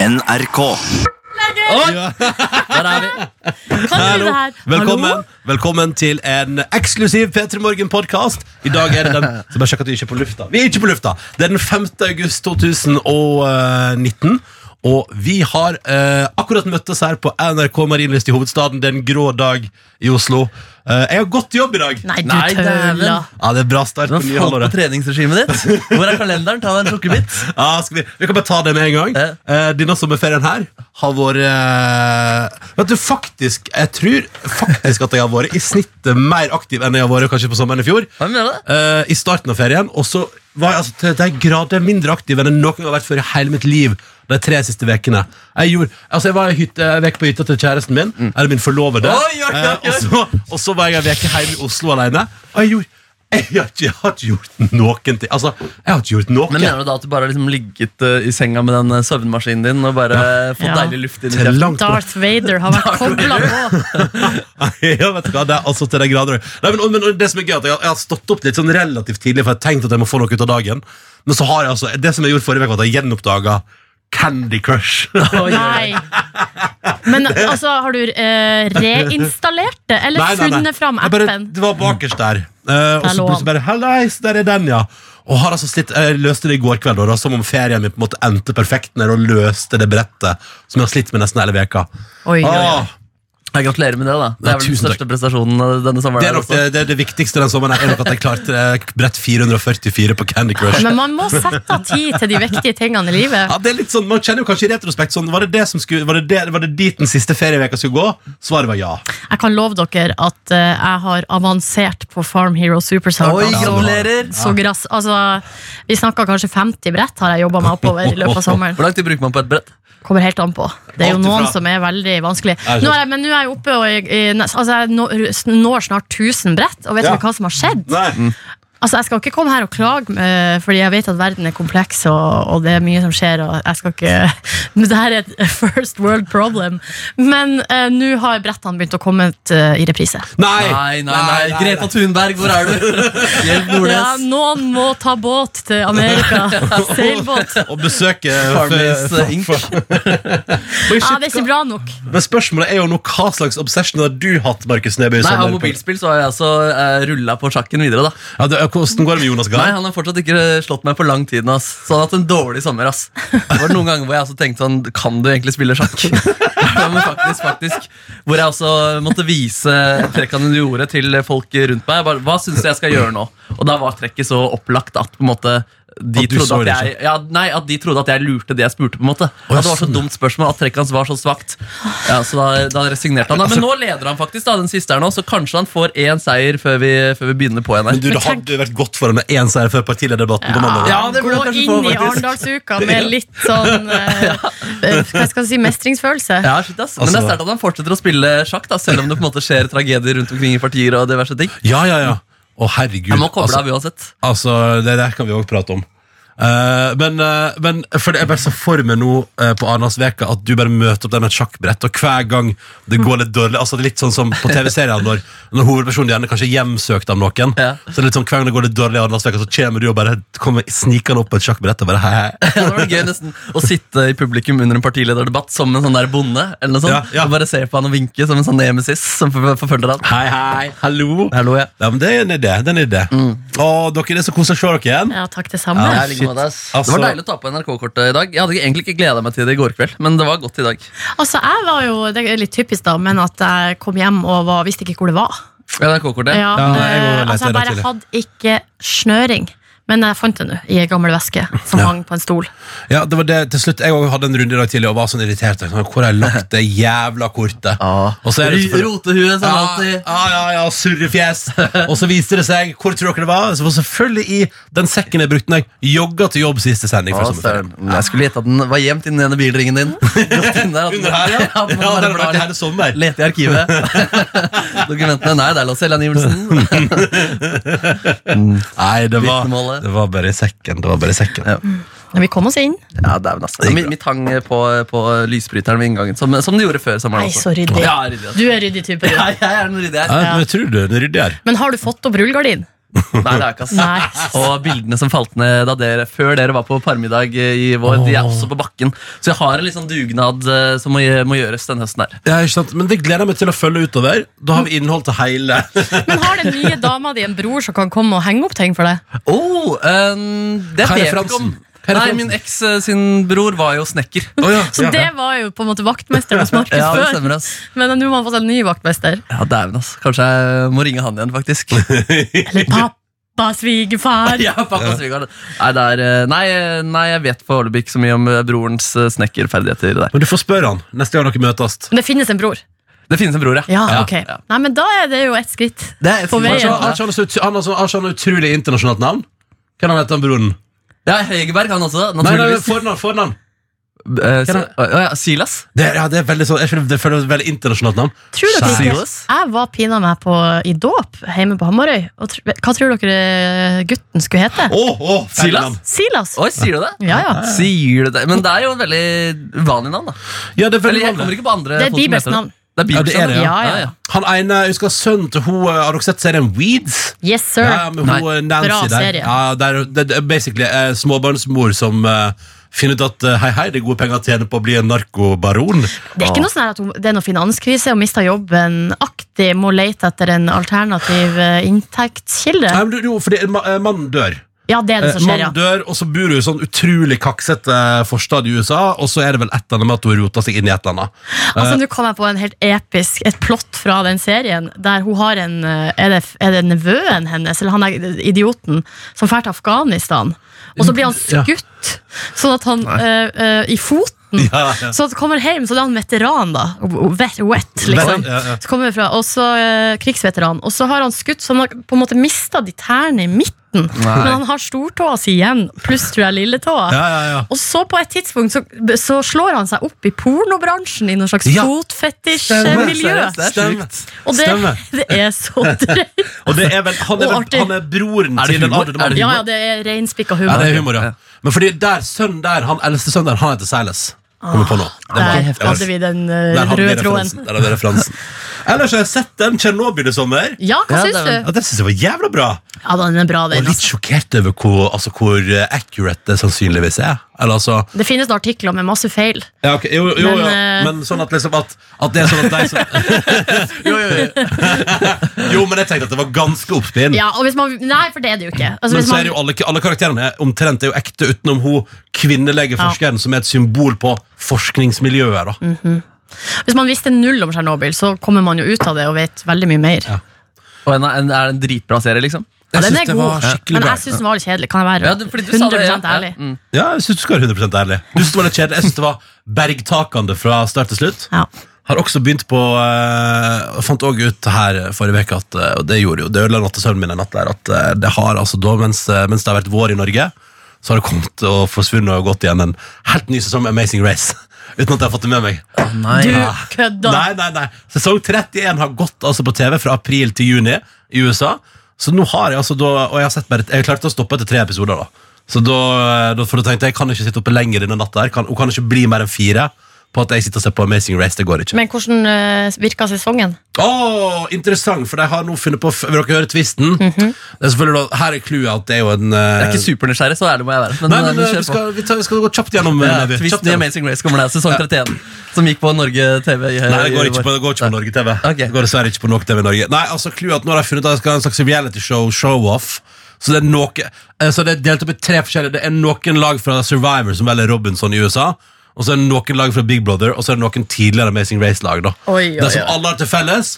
NRK. Oi! Ja. Der er vi. Kan Hallo. det her? Velkommen, Hallo? velkommen til en eksklusiv P3 Morgen-podkast. I dag er det den Så bare sjekk at du ikke er på lufta. Vi er ikke på lufta! Det er den 5. august 2019. eh, Og vi har eh, akkurat møttes her på NRK Marienlyst i hovedstaden. Det er en grå dag i Oslo. Eh, jeg har gått til jobb i dag! Nei, du Nei, dæven. tøvla. Ja, det er bra start på Hvordan nye faen på halvåret. treningsregimet ditt? Hvor er kalenderen? Ta deg en sukkerbit. Ja, skal vi, vi kan bare ta det med en gang. Ja. Eh, denne sommerferien her har vært eh, Vet du, faktisk Jeg tror faktisk at jeg har vært i snitt mer aktiv enn jeg har vært kanskje på sommeren i fjor. Hva mener du? Eh, I starten av ferien, og så var jeg altså, til de grader mindre aktiv enn jeg noen gang har vært før i hele mitt liv. De tre siste vekene Jeg, gjorde, altså jeg var i hytte, jeg vekk på hytta til kjæresten min, eller min forlovede. Mm. Oi, oi, oi, Eh, og, så, og så var jeg en uke hjemme i Oslo alene. Og jeg, gjorde, jeg, har ikke, jeg har ikke gjort noen ting. Altså, jeg har ikke gjort noe. Men Mener du da at du bare har liksom ligget eh, i senga med den eh, søvnmaskinen din og bare eh, fått Ja. deilig luft inn i til kjeften? langt på Darth Vader har vært kobla på. ja, vet du hva, det er altså til den grader Nei, men, men det som er gøy er at jeg, jeg har stått opp litt sånn relativt tidlig For jeg har tenkt at jeg må få noe ut av dagen Men så har jeg altså, det som jeg gjorde forrige vek Var at jeg gjenoppdaget Candy Crush Oi, oi, Nei. Men altså, har du eh, reinstallert det, eller Nei, nei, nei. funnet fram Jeg bare, appen? Det var bakerst der Eh, Der Og så lå han. plutselig bare, halleis, der er den ja Og har altså slitt, jeg løste det i går kveld da, da, Som om ferien min på en måte endte perfekt Når jeg løste det brettet Som jeg har slitt med nesten hele veka Oi, oi, oi. Åh, oi. Gratulerer med det, da. Det Nei, er vel den tusen takk. største prestasjonen eh, denne sommeren. det er her nok det, det, er det viktigste den sommeren her, Er nok at jeg klarte eh, brett 444 på Candy Crush Men man må sette av tid til de viktige tingene i livet. Ja, det er litt sånn, Man kjenner jo kanskje i retrospekt sånn Var det, det, som skulle, var det, det, var det dit den siste ferieveka skulle gå? Svaret var ja. Jeg kan love dere at eh, jeg har avansert på Farm Hero også. Superstar. Oi, Altså. gratulerer! Så grass, altså, vi snakker kanskje 50 brett har jeg jobba meg oppover i løpet av sommeren. Hvor lang tid bruker man på et brett? Kommer helt an på. Det er jo Alt ifra- noen som er veldig vanskelig. sant. Nå er jeg, men nå er jeg oppe og jeg, eh, nes- altså, jeg når- når snart 1000 brett, og vet Ja. dere hva som har skjedd? Nei. Altså, Jeg skal ikke komme her og klage, eh, fordi jeg vet at verden er kompleks, og, og det er mye som skjer. og jeg skal ikke... Men det her er et first world problem. Men eh, nå har brettene begynt å komme ut eh, i reprise. Nei, Nei, nei, nei. Greta Thunberg, hvor er du? Hjelp Ja, Nordnes. noen må ta båt til Amerika. Seilbåt. Og besøke Farmers eh, Inc. Men Ja, shit, det er ikke bra nok. Men spørsmålet er jo nå hva slags obsession har du hatt, Markus Neby? i Nei, Av sommer? mobilspill så har jeg altså uh, rulla på sjakken videre, da. Ja, det, hvordan går det med Jonas Nei, Gahr? han har fortsatt ikke slått meg på lang tid. nå, Ass. Så han har hatt en dårlig sommer. ass Det var noen ganger hvor jeg også tenkte sånn Kan du egentlig spille sjakk? Ja, Men faktisk, faktisk Hvor jeg også måtte vise trekkene du gjorde, til folk rundt meg. Jeg Bare, Hva syns du jeg skal gjøre nå? Og da var trekket så opplagt at på en måte de At du trodde så at, det jeg, ja, nei, at de trodde at jeg lurte det jeg spurte. på en måte ja, At det var så sånn. dumt spørsmål at trekket hans var så svakt. Ja, så da, da resignerte han. Da. Altså- Men nå leder han faktisk, da den siste her nå så kanskje han får én seier før vi, før vi begynner på igjen. her. Men du, Det tenk- hadde vært godt for deg med én seier før partilederdebatten på mandag. Ja, det Gå burde jeg kanskje få, inn i faktisk. Arendalsuka med litt sånn eh, eh, Hva skal jeg si, mestringsfølelse. Ja, shit, ass. Men Altså- det er sterkt at han fortsetter å spille sjakk, da, selv om det på en måte skjer tragedier rundt omkring i partier og diverse ting. Ja, ja, ja. Å, herregud. Han må koble altså. av uansett. Altså, det der kan vi òg prate om. Eh, men, eh, men for det er bare så for meg nå eh, på Arendalsveka at du bare møter opp der med et sjakkbrett, og hver gang det går litt dårlig Altså det er Litt sånn som på TV-seriene, når, når hovedpersonen gjerne kanskje er hjemsøkt av noen. Ja. Så det er litt sånn Hver gang det går litt dårlig i Arendalsveka, så kommer du og bare kommer snikende opp på et sjakkbrett og bare hei, hei. Ja, det var gøy nesten Å sitte i publikum under en partilederdebatt som en sånn der bonde. Eller noe sånt Ja, ja. Og bare se på han og vinke som en sånn nemesis som for- forfølger han. Hei, hei, hallo. Hallo, ja. Ja, men det er en idé. Det er en idé. Å, dere, det er så koselig å se dere igjen. Ja, takk, det samme. Ja. Jeg ligger med deg, ass. Altså- det var deilig å ta på NRK-kortet i dag. Jeg hadde egentlig ikke gleda meg til det i går kveld, men det var godt i dag. Altså, jeg var jo, Det er litt typisk, da, men at jeg kom hjem og var, visste ikke hvor det var. NRK-kortet Ja, Ja, nei, jeg må eh, lete altså, jeg det bare tidlig. hadde ikke snøring. Men jeg fant det nå, i ei gammel veske som hang på en stol. Ja, det var det til slutt Jeg også hadde en runde i dag tidlig og var sånn irritert. Sånn, Hvor har jeg lagt det jævla kortet? Ja. Og så er det selvfølgelig- Rotehue som Ja, alltid. ja, ja, ja, surrefjes. Og så viste det seg Hvor tror dere det var? Så var selvfølgelig i den sekken jeg brukte når jeg jogga til jobb siste sending. før Å, sommerferien. søren. Jeg skulle gjette at den var gjemt inni denne bilringen din. Godt inn der, at den- Under her, ja. at den Ja, bare den har blar vært litt. her i sommer. Lete i arkivet. Dokumentene Nei, det er Lars Seljangivelsen. Nei, det var, Vitnemålet. det var bare i sekken. Det var bare i sekken Ja. Men vi kom oss inn. Ja, dæven, ass. Ja, mitt hang på, på lysbryteren ved inngangen, som, som det gjorde før sommeren Nei, også. så ryddig. Ja, ryddig, ass. Du er ryddig type. du. Ja, jeg er en ryddig her. Ja, men jeg tror du er en ryddig her. Men har du fått opp rullegardin? Nei, det er ikke ass. Nei. Og bildene som falt ned da dere, før dere var på parmiddag eh, i vår, de er også på bakken. Så jeg har en litt sånn dugnad eh, som må, gjø- må gjøres denne høsten her. Ja, ikke sant? Men det gleder jeg meg til å følge utover. Da har vi innhold til hele. Men har den nye dama di en bror som kan komme og henge opp ting for deg? Oh, um, det Hva er vet jeg ikke om. referansen? Hva er Nei, referansen? min eks eh, sin bror var jo snekker. Oh, ja. Så det var jo på en måte vaktmesteren hos Markus Ja, det før. stemmer, ass. Men nå må han få seg en ny vaktmester. Ja, dæven, ass. Kanskje jeg må ringe han igjen, faktisk. Eller pappa, svigerfar. ja, pappa svigerfar. Nei, det er, eh, nei, eh, nei, jeg vet foreløpig ikke så mye om eh, brorens eh, snekkerferdigheter der. Men du får spørre han neste gang dere møtes. Men det finnes en bror. Det finnes en bror, ja. Ja, Ja, ok. ja. Nei, men da er det jo ett skritt. Det er, På vei Har ikke han- hjem. har ikke han så ut- han har så- har ikke han utrolig internasjonalt navn? Kan han hete han broren? Ja, Høgeberg, han også. Nei, nei, Naturligvis. fornavn, fornavn. Eh, så- Å, ja, Silas. Det, er- ja, det er veldig sånn, jeg føler det føler et veldig internasjonalt navn. Tror dere ikke? Silas? Jeg var pina meg på, i dåp hjemme på Hamarøy. Og tr hva tror dere gutten skulle hete? Åh, åh, feil Silas? navn. Silas. Oi, sier du det? Ja, ja. Sier du det? Men det er jo et veldig uvanlig navn, da. Ja, det er Eller veldig jeg kommer vanlig. ikke på andre Det er folk som Bibels heter det. navn. Det er Bibels Ja, det er navn, det, ja. Ja, ja. Han ene, jeg husker sønnen til hun, eh, har dere sett serien Weeds? Yes, sir. Ja, med Nei. hun eh, Nancy Bra der. serie. Ja, det er- det er basically eh, småbarnsmor som eh, finner ut at eh, hei, hei, det er gode penger å tjene på å bli en narkobaron. Det er ikke noe sånn her at hun, det er noe finanskrise og mista jobben. Aktiv må lete etter en alternativ eh, inntektskilde. Nei, men du- jo, fordi en ma- eh, mannen dør. Ja, det er det Eh, som skjer, ja. Mannen dør, og så bor hun i sånn utrolig kaksete eh, forstad i USA, og så er det vel et eller annet med at hun roter seg inn i et eller annet. Altså, Eh, Nå kom jeg på en helt episk et plott fra den serien. Der hun har en eh, Er det, er det nevøen hennes, eller han er idioten, som drar til Afghanistan? Og så blir han Ja. skutt, sånn at han eh, eh, I foten. Ja, ja. Så han kommer hjem, så er han veteran, da. Wet, wet liksom. Ja, ja. Så kommer vi fra, og så eh, krigsveteran. Og så har han skutt, så han har på en måte mista de tærne i midten. Men han har stortåa si igjen, pluss tror jeg lilletåa. Ja, ja, ja. Og så på et tidspunkt så, så slår han seg opp i pornobransjen i noe slags Ja. fotfetisj-miljø. Seriøst, det er Stemmer. sjukt. Og det, Stemmer. det er så drøyt. Og det er vel, han, er Og vel, artig. han er broren Er det til den humor? andre Er mannen. det Ja, ja, det er reinspikka Ja, det er humor. humor, ja. Men fordi der, sønnen der, han eldste sønnen der, han heter Silas. Kommer på nå. Det var- Der ja, hadde vi den eh, der hadde vi røde referansen. tråden. Der hadde vi referansen. Ellers har jeg sett den Tsjernobyl i sommer. Ja, hva Ja, syns det er du? Ja, det syns jeg var jævla bra. Ja, den er bra, Og den. litt Altså. sjokkert over hvor, altså, hvor eh, accurate det sannsynligvis er. Eller altså Det finnes artikler med masse feil. ja, ok, Jo, jo, Men, jo. eh, Men sånn at liksom at, at det er sånn at de som jo, jo, jo. jo, men jeg tenkte at det var ganske oppspinn. Ja, og hvis man, nei, for det er det jo ikke. Altså, Men hvis så er man, det jo alle, alle karakterene er omtrent er jo ekte utenom hun kvinnelige forskeren som er et symbol på forskningsmiljøet. da. Mm. hvis man visste null om Tsjernobyl, så kommer man jo ut av det og vet veldig mye mer. Og en, en, er det en dritbra serie, liksom? Jeg den synes er det var god, skikkelig men bra. jeg syns den var litt kjedelig. Kan jeg være Ja, du- fordi du sa det, ja. 100 ærlig? Ja, mm. Ja, jeg synes du skal være 100 ærlig. Du synes det var litt kjedelig. Jeg synes det var bergtakende fra start til slutt. Ja. Har også begynt på eh, Fant også ut her forrige uke at eh, Og det gjorde jo, det ødela nattesøvnen min en natt der At eh, det har altså da, mens, eh, mens det har vært vår i Norge Så har det kommet og forsvunnet og gått igjen En helt ny sesong med Amazing Race Uten at jeg har fått det med meg Nei. Du Ja. kødder! Nei, nei, nei Sesong 31 har gått altså på TV fra april til juni I USA Så nå har jeg altså da Og jeg har sett bare Jeg klarte å stoppe etter tre episoder da Så da, da for da tenkte jeg Jeg kan ikke sitte oppe lenger denne natta her kan, Og kan ikke bli mer enn fire På at jeg sitter og ser på Amazing Race Det går ikke Men hvordan uh, virka sesongen? Åh, interessant, for de har nå funnet på Vil dere høre tvisten? Det er selvfølgelig da, Her er clouet at det er jo en Jeg Mhm. er ikke supernysgjerrig, så ærlig må jeg være. Men, Nei, men eh, eh, vi kjør på. skal, vi, tar, vi skal gå kjapt gjennom Ja, eh, Neby. Kjapt Twisten i gjennom. Amazing Race kommer der, sesong 31. Som gikk på Norge TV. i- Nei, det går i ikke vår. på, det går ikke på Norge TV. Ok. Det går dessverre ikke på nok TV i Norge Nei, altså clouet at nå har de funnet at de skal ha en slags realityshow, show-off. Så det er noe eh, Så det er delt opp i tre forskjellige Det er noen lag fra Survivor, som vel er Robinson i USA. Og så er det noen lag fra Big Brother, og så er det noen tidligere Amazing Race-lag. da Oi, oi, Det som oi. alle har til felles,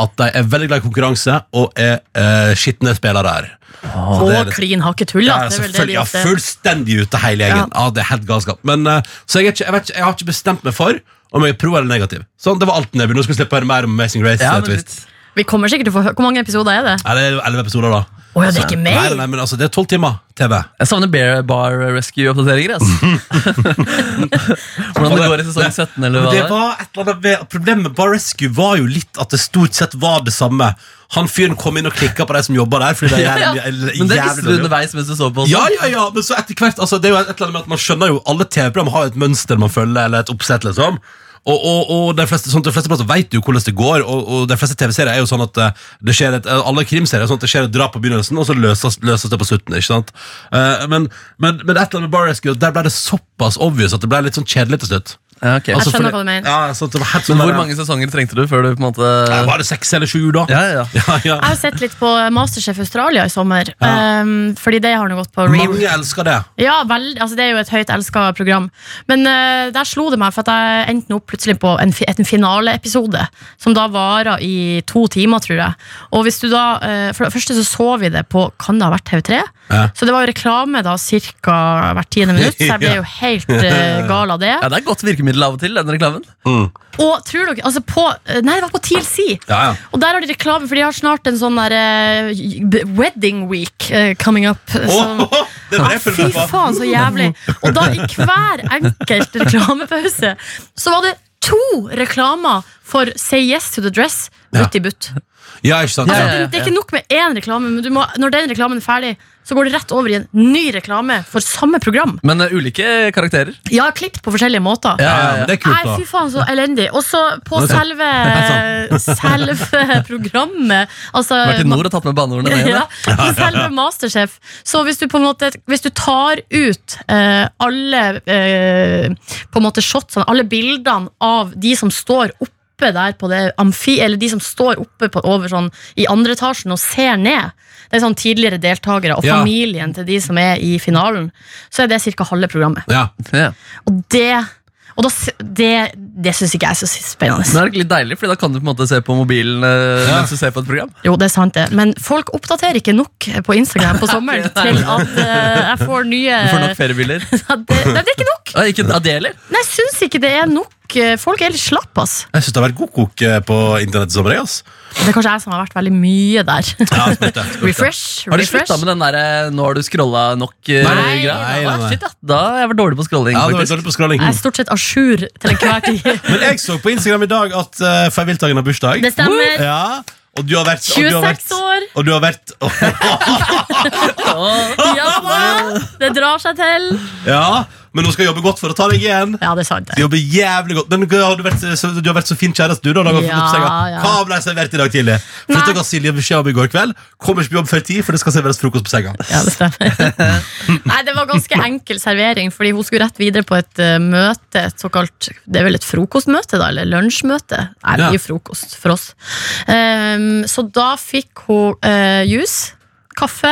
at de er veldig glad i konkurranse og er eh, skitne spillere. her. Så det er Og det- klin hakke tulla! ja, det er vel det selvfølgelig. de Ja, ofte- fullstendig ute hele gjengen. Ja. det er helt galskap. Men, eh, så jeg, er ikke, jeg, vet ikke, jeg har ikke bestemt meg for om jeg er pro eller negativ. Sånn, Det var alt, Neby. Nå skal vi slippe å høre mer om Amazing Race. Ja, eh, men twist. litt. Vi kommer sikkert til å få høre Hvor mange episoder er det? Nei, det er elleve episoder, da. Å ja, det er ikke Nei, nei, mer! nei, men altså, Det er tolv timer TV. Jeg savner Bear Bar Rescue-oppdateringer. Altså. Hvordan det går i sesong 17, eller Men hva det det er. var et eller annet ved, Problemet med Bar Rescue var jo litt at det stort sett var det samme. Han fyren kom inn og klikka på de som jobba der. Fordi det er Ja, ja. jævlig, jævlig, Men det visste du dårlig jobb. underveis mens du så på. også. Ja, ja, ja, men så etter hvert altså, Det er jo et eller annet med at man skjønner jo Alle TV-program har jo et mønster man følger Eller et oppsett liksom Og, og, og de fleste, sånn, at de fleste plasser vet jo hvordan det går, og, og de fleste TV-serier er jo sånn at eh, det skjer et, eh, alle krimserier er sånn at det skjer et drap på begynnelsen, og så løses, løses det på slutten. ikke sant? Eh, men, men, men et eller annet med Bar Rescue, der ble det såpass obvious at det ble litt sånn kjedelig til slutt. Ja, ok. Jeg skjønner Altså, fordi- hva du mener. Ja, sånn at det var helt sånn Men hvor der- mange sesonger trengte du før du på en måte Ja, Var det seks eller sju, da? Ja, ja. ja, ja. Jeg har sett litt på Masterchef Australia i sommer. Ja. ehm, fordi det har nå gått på re Mange elsker det. Ja, vel, altså Det er jo et høyt elska program. Men eh, der slo det meg, for at jeg endte nå opp plutselig på en, fi- en finaleepisode. Som da varer i to timer, tror jeg. Og hvis du da, eh, For det første så så vi det på Kan det ha vært TV3? Ja. Så det var jo reklame da ca. hvert tiende minutt, så jeg ble jo helt eh, gal av det. Ja, Det er et godt virkemiddel av og til, den reklamen. Og tror dere, altså på eh, Nei, det var på TLC. Ja, ja. Og der har de reklame, for de har snart en sånn der eh, b- wedding week eh, coming up. som- Ah, Åh, det var det jeg Fy følte meg på. faen, så jævlig. Og da i hver enkelt reklamepause så var det to reklamer for Say Yes to the Dress Ja. ut i butt. Ja, ikke sant? Ja, Altså, ja, ja. Ja. det, det er ikke nok med én reklame, men du må, når den reklamen er ferdig, så går det rett over i en ny reklame for samme program. Men eh, ulike karakterer. Jeg har klippet på forskjellige måter. Ja, Ja, men det er kult, Nei, da. fy faen, så elendig. Og så på Nå sånn. er det selve, selve programmet altså, Vært i nord og tatt med banneordene ned. ja, på selve Masterchef. Så hvis du på en måte Hvis du tar ut eh, alle eh, På en måte shotsene, alle bildene av de som står oppe der på det amfi, eller de som står oppe på, over sånn i andre etasjen og ser ned. Det er sånn tidligere deltakere og Ja. familien til de som er i finalen. Så er det ca. halve programmet. Ja. Ja. Og det og da, s- det, det syns ikke jeg er så Men spennende. er det ikke litt deilig, Fordi da kan du på en måte se på mobilen eh, Ja. mens du ser på et program. Jo, det er sant det Men folk oppdaterer ikke nok på Instagram på sommeren Nei, til at eh, jeg får nye Du får nok feriebilder. Ja, det, nei, det er ikke nok! Ah, ikke av det heller? Nei, Jeg syns ikke det er nok. Eh, Folk er litt slapp, ass. Jeg syns det har vært god kok eh, på internett i sommer. jeg, ass. Det er kanskje jeg som har vært veldig mye der. Ja, jeg spurte. refresh, Har du refresh. slutta med den derre 'nå har du scrolla nok'? eh, Nei, greia? nei, nei, Ah, nei. shit, ja. Da har jeg vært dårlig på scrolling. Ja, det var faktisk. dårlig på scrolling. Jeg er stort sett à jour til enhver tid. Men jeg så på Instagram i dag at uh, Fay Wiltagen har bursdag. Det stemmer. Ja, og du har vært og du har vært- 26 år. Og du har vært Ja da! Det drar seg til. Ja, men hun skal jobbe godt for å ta deg igjen. Ja, det er sant. Du det. jobber jævlig godt Men hva har du, vært, så, du har vært så fin kjæreste, du. da Dag, og funnet opp Ja, senga. ja. Hva ble jeg servert i dag tidlig? For Nei. dette ga Silje beskjed om i går kveld. Kommer ikke på jobb før ti, for det skal serveres frokost på senga. Ja, det stemmer. Nei, det var ganske enkel servering, fordi hun skulle rett videre på et eh, møte. Et såkalt, det er vel et frokostmøte, da? Eller lunsjmøte? Nei, det Ja. er jo frokost for oss. Ehm, så da fikk hun eh, juice, kaffe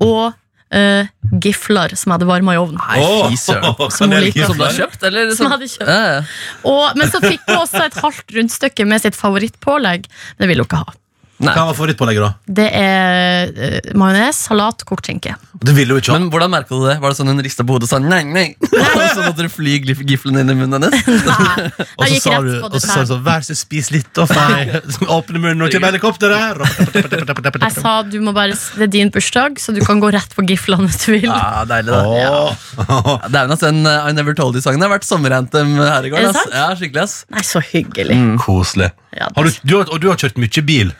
og eh, gifler som jeg hadde varma i ovnen. Nei, fy søren. Åh, Som hun kanel- liker. Som du har kjøpt, eller? Som sånn- jeg hadde kjøpt. Ja, ja. Og, men så fikk hun også et halvt rundstykke med sitt favorittpålegg. Men det vil hun ikke ha. Hva var favorittpålegget, da? Det er eh, majones, salat, kokt skinke. Det ville hun ikke ha. Men hvordan merka du det? Var det sånn hun rista på hodet og sa nei, nei? Og så måtte du fly gif- giflen inn i munnen hennes? Nei, Og jeg så gikk sa rett du på og så sa du dessert. sånn, vær så spis litt, og fei. Åpne munnen og kjøp helikopteret. Jeg sa du må bare, det er din bursdag, så du kan gå rett på giflene hvis du vil. Ja, Ah, deilig da Åh. Det er jo nesten uh, I Never Told You-sangen har vært sommeranthem her i går. Er det ass. sant? Ja, skikkelig ass Nei, så hyggelig. Mm. Koselig. Ja, Har du, du, har- og du har kjørt mye bil,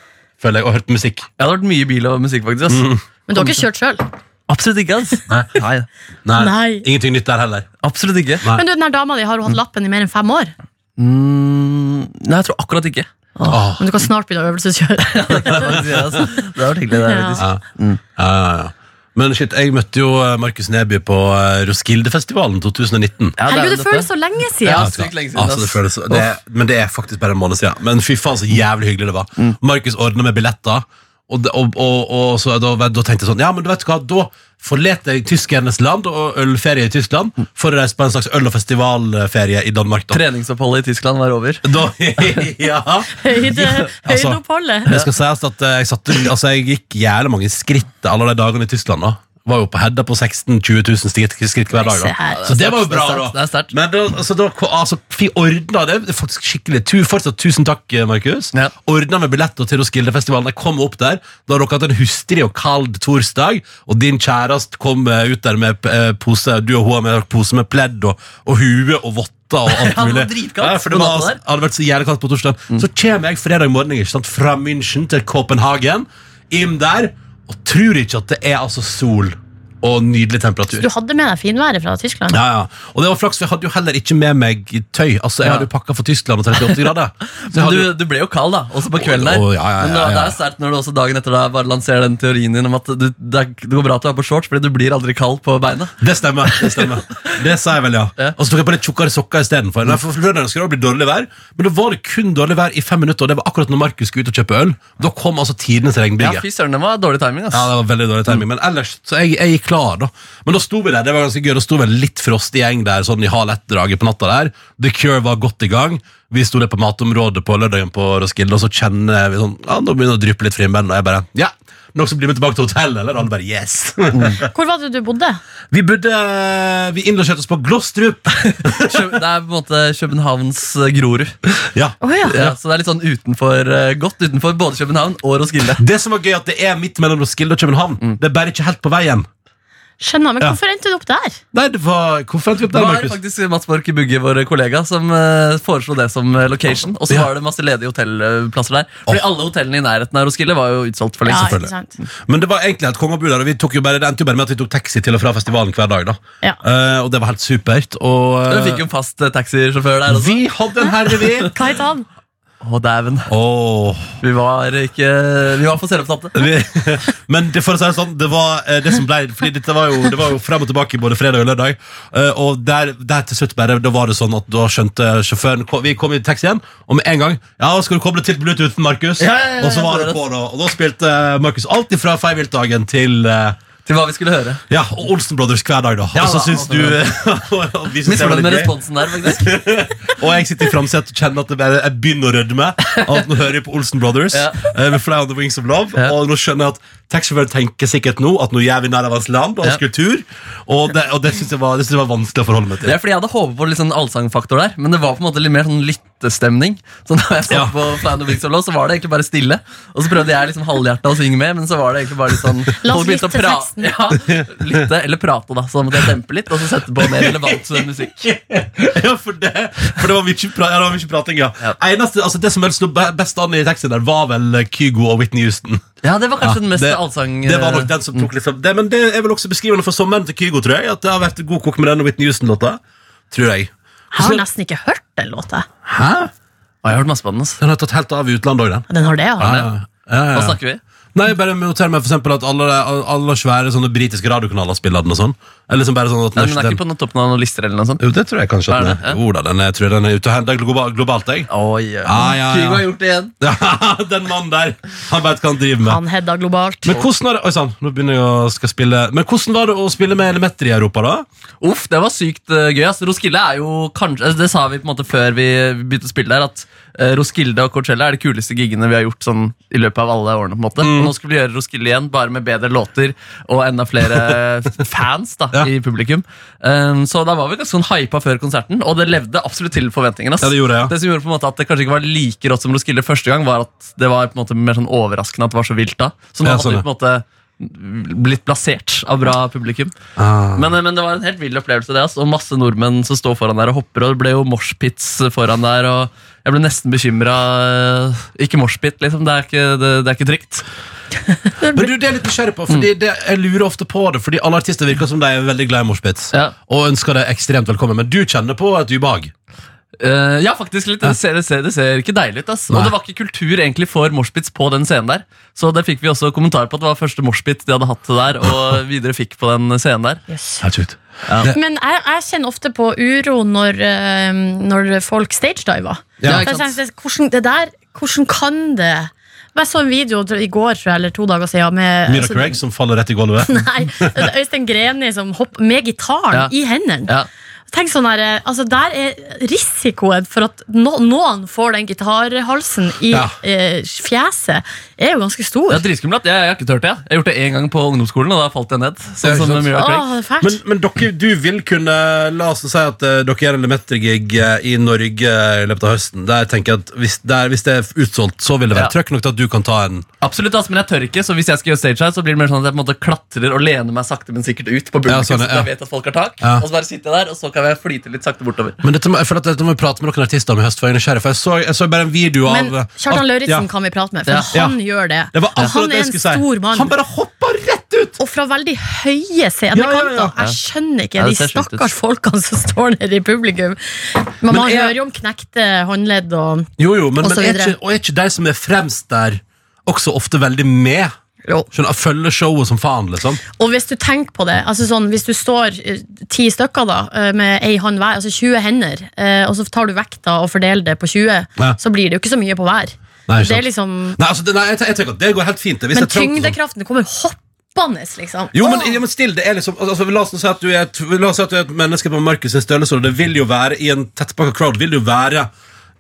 føler jeg, og hørt musikk. Jeg har hørt mye bil og musikk, faktisk. ass Men du har ikke kjørt sjøl? Absolutt ikke, ass Nei, Nei. Ingenting nytt der heller. absolutt ikke. Nei. Men du, den her dama di har jo hatt lappen i mer enn fem år. Mm, nei, jeg tror akkurat ikke. Åh. Men du kan snart begynne å øvelseskjøre. Det kan jeg faktisk si, ass. Det har vært hyggelig, det. Ja. faktisk. Ja. Ja, ja, ja. Men shit, jeg møtte jo eh, Markus Neby på eh, Roskildefestivalen 2019. Ja, er jo Herregud, det dette. føles så lenge Ja, siden. ass. sykt lenge siden, Altså, det ass. føles, det, men det er faktisk bare en måned siden. Men fy faen, så jævlig hyggelig det var. Mm. Markus ordna med billetter, og, det- og, og, og så, da, da tenkte jeg sånn Ja, men du vet hva, da forlater jeg tyskernes land og ølferie i Tyskland Mm. for å reise på en slags øl- og festivalferie i Danmark. Da. Treningsoppholdet i Tyskland var over. da ja. Høyde, Altså, høydeoppholdet. Det skal sies at eh, jeg, satte, altså, jeg gikk jævlig mange skritt alle de dagene i Tyskland. da var jo på Hedda på 16 000-20 000 skritt, skritt hver dag. Se Da. her. Så det var jo Det er bra, sterkt, da. det er sterkt. Men da, altså, da altså, fi- ordna det. det er faktisk skikkelig tu, Fortsatt tusen takk, eh, Markus. Ja. Ordna med billetter til Roskildefestivalen. Jeg kom opp der. Da har dere hatt en hustrig og kald torsdag, og din kjæreste kom eh, ut der med eh, pose, du og hun har med pose med pledd og, og hue og votter og alt Ja, det var mulig. dritkaldt Ja, for det på var, natta der. hadde vært så jævlig kaldt på torsdag. Mm. Så kommer jeg fredag morgen ikke sant, fra München til Copenhagen, inn der, og tror ikke at det er altså sol. og nydelig temperatur. Du hadde med deg finværet fra Tyskland? Ja, ja. Og det var flaks, for jeg hadde jo heller ikke med meg tøy. Altså, Jeg Ja. hadde jo pakka for Tyskland og 38 grader. Så jeg Men hadde... du, du ble jo kald, da, også på kvelden der. Å, å, ja, ja, Men ja, da- ja. det er sterkt når du også dagen etter da bare lanserer den teorien din om at du, det, er, det går bra at du er på shorts, fordi du blir aldri kald på beina. Det stemmer. Det stemmer Det sa jeg vel, ja. Ja. Mm. Og så tok jeg på litt tjukkere sokker istedenfor. Nei, for Lørdag skulle det bli dårlig vær, men da var det kun dårlig vær i fem minutter. Og det var akkurat når Markus skulle ut og kjøpe øl. Da kom altså tidenes Ja, regnbyge. fy søren, det var dårlig timing, ass. Ja, det var veldig dårlig timing, men ellers Så jeg, jeg gikk klar, da. Men da sto vi der, det var ganske gøy. Da sto vi en litt frostig gjeng der, sånn i halv ett-draget på natta der. The Cure var godt i gang. Vi sto der på matområdet på lørdagen på Roskilde, og så kjenner vi sånn Ja, nå begynner det å dryppe litt frimenn, og jeg bare Ja, noen som blir med tilbake til hotellet, eller? Og alle bare Yes! Hvor var det du bodde? vi burde Vi innlosjerte oss på Glostrup. Kø- Det er på en måte Københavns eh, Grorud. Ja. Å ja. Ja, så det er litt sånn utenfor, eh, godt utenfor både København og Roskilde. Det som var gøy, at det er midt mellom Roskilde og København. Det er bare ikke helt på veien. Skjønner, men Ja. hvorfor endte du opp der? Nei, det var Hvorfor endte vi opp Det der, var Markus? faktisk Mats Borch Bugge, vår kollega, som eh, foreslo det som eh, location. Og så Ja. var det masse ledige hotellplasser der. Fordi Åh. alle hotellene i nærheten av Roskilde var jo utsolgt for Ja, lengst. ikke sant? Men det var egentlig et kongebu der, og vi tok jo bare, det endte jo bare med at vi tok taxi til og fra festivalen hver dag. da. Ja. Eh, og det var helt supert. Og Dere eh, fikk jo sånn. en fast eh, taxisjåfør der også. vi hadde en herre, vi! Hva het han? Å, dæven. Åh, Vi var ikke Vi var for selvopptatte. vi, men det, for å si det sånn, det var eh, det som ble Fordi dette var jo, det var jo frem og tilbake både fredag og lørdag. eh, og der, der til slutt bare, da var det sånn at da skjønte sjåføren ko- Vi kom i taxien, og med en gang Ja, skal du koble til Bluetooth, Markus? Ja, ja, ja, og så var jeg det så på, da. Og da spilte eh, Markus alt ifra Feivildagen til eh, Til hva vi skulle høre. Ja, og Olsen Brothers hver dag, da. og så da, syns altså, du og vi synes det var Misfornøyd litt med gøy. responsen der, faktisk. Og jeg sitter i framsetet og kjenner at det bare, jeg begynner å rødme. av At nå hører jeg på Olsen Brothers Ja. eh, med Fly on the Wings of Love. Ja. Og nå skjønner jeg at taxisjåføren tenker sikkert nå at nå gjør vi narr av hans land og hans Ja. kultur. Og det, og det syns jeg, var- det synes jeg var vanskelig å forholde meg Det til. er fordi Jeg hadde håpet på litt sånn allsangfaktor der, men det var på en måte litt mer sånn lyttestemning. Så da jeg satt Ja. på Fly on the Wings of Love, så var det egentlig bare stille. Og så prøvde jeg liksom halvhjerta å synge med, men så var det egentlig bare litt sånn La oss folk begynte å lytte pra- teksten. Ja, lytte eller prate, da. Så da måtte jeg dempe litt, og så sette på mer relevant musikk. Ja, for det, for det var mye, pra ja, det var mye prating, ja. Ja. Eneste, altså, det som helst sto be- best an i taxien der, var vel eh, Kygo og Whitney Houston. Ja, det var kanskje den mest det- allsang... eh, mm. Det var nok den som tok liksom det, Men det er vel også beskrivende for sommeren til Kygo, tror jeg. At det har vært god kokk med den og Whitney Houston-låta. Tror jeg. Jeg har nesten ikke hørt den låta. Hæ? Å, jeg har hørt masse på den, ass. Den har tatt helt av i utlandet òg, den. Den har det, ja. Ja, ja, ja. Hva snakker vi? Nei, bare noter meg for eksempel at alle, alle svære sånne britiske radiokanaler spiller den og sånn. Eller liksom bare sånn at Nei, men den er den- ikke på noen toppen av noen lister eller noe sånt. Jo, det tror jeg kanskje at Er den det? er. Jo da, den er, tror jeg den er ute og henter globa- globalt, jeg. Oi, ja. Ja, ja, ja. Kygo har gjort det igjen. Ja, den mannen der, han vet hva han driver med. Han Hedda globalt. Men hvordan, er det, oi, sann, nå begynner jeg å skal spille. Men hvordan var det å spille med Elementer i Europa, da? Uff, det var sykt eh, gøy. ass. Roskilde er jo kanskje altså, Det sa vi på en måte før vi begynte å spille der, at eh, Roskilde og Coachella er de kuleste giggene vi har gjort sånn i løpet av alle årene. på en Mm. måte Og Nå skulle vi gjøre Roskilde igjen, bare med bedre låter og enda flere fans da Ja. i publikum. Um, så da var vi ganske sånn hypa før konserten, og det levde absolutt til forventningene. ass. Ja, det gjorde jeg, ja. Det som gjorde på en måte at det kanskje ikke var like rått som Roskilde første gang, var at det var på en måte mer sånn overraskende at det var så vilt da. Så nå Ja, hadde vi sånn, på en måte blitt plassert av bra publikum. Ah. Men, men det var en helt vill opplevelse, det. ass, Og masse nordmenn som står foran der og hopper. Og det ble jo moshpits foran der, og jeg ble nesten bekymra. Ikke moshpit, liksom. Det er ikke, det, det er ikke trygt. Men du, det er litt nysgjerrig på, fordi det, jeg lurer ofte på det, fordi alle artister virker som de er veldig glad i moshpits, Ja. og ønsker deg ekstremt velkommen, men du kjenner på et ubehag. Eh, ja, faktisk litt. Det ser, det ser, det ser ikke deilig ut. ass. Nei. Og det var ikke kultur egentlig for moshpits på den scenen der. Så det fikk vi også kommentar på at det var første moshpit de hadde hatt der, og videre fikk på den scenen der. Yes. Helt sjukt. Men jeg, jeg kjenner ofte på uro når, eh, når folk stagediver. For Ja, ikke jeg sant? tenker, hvordan, det der, hvordan kan det Jeg så en video i går tror jeg, eller to dager siden med Mira altså, Craig som faller rett i gulvet. Nei, det er Øystein Greni som hopper med gitaren Ja. i hendene. Ja. Tenk sånn her, eh, altså Der er risikoen for at no, noen får den gitarhalsen i Ja. eh, fjeset, er jo ganske stor. Det er dritskummelt. Jeg, jeg har ikke tørt det. Jeg Jeg har gjort det én gang på ungdomsskolen, og da falt jeg ned. Ja, Sånn ikke som sant? Mira Craig. Åh, det er fælt. Men, men dere, du vil kunne La oss si at eh, dere gjør en Lemetter-gig eh, i Norge i løpet av høsten. Der tenker jeg at hvis, der, hvis det er utsolgt, så vil det være Ja. trøkk nok til at du kan ta en Absolutt, ass, men jeg tør ikke, så hvis jeg skal gjøre stage her, så blir det mer sånn at jeg på en måte klatrer og lener meg sakte, men sikkert ut på publikum, Ja, sånn, så ja. jeg vet at folk har tak, Ja. og så bare sitter jeg der, og så kan jeg flyte litt sakte bortover. Men dette må, jeg føler at dette må vi prate med noen artister om i høst, for jeg er nysgjerrig. For jeg så, jeg så bare en video Men av Kjartan at- Lauritzen ja. kan vi prate med, for Ja. han gjør det. Det var Og akkurat han det er jeg en skulle si. stor mann. Han bare hoppa rett ut! ut! Og fra veldig høye Ja, scenekanter. ja, ja. Jeg skjønner ikke Ja, det de ser sjukt ut. stakkars folkene som står nede i publikum. Men, man jeg- hører jo om knekte håndledd og Jo, jo, men, Og men så er, videre. ikke, og er ikke de som er fremst der, også ofte veldig med? Jo. Skjønner, Følger showet som faen, liksom? Og hvis du tenker på det, altså sånn, hvis du står eh, ti stykker da, eh, med ei hånd hver, altså 20 hender, eh, og så tar du vekta og fordeler det på 20, Ja. så blir det jo ikke så mye på hver. Nei, ikke det sant. er liksom, Nei, altså, det, nei jeg, te- jeg tenker at det går helt fint. det, Hvis men jeg trengte sånn- tyngdekraften kommer hoppende, liksom. Jo, men, Åh! ja, men still, det er liksom altså, La oss nå si at du er et, la oss si at du er et menneske på Markus' sin størrelse, og det vil jo være i en tettpakka crowd vil det jo være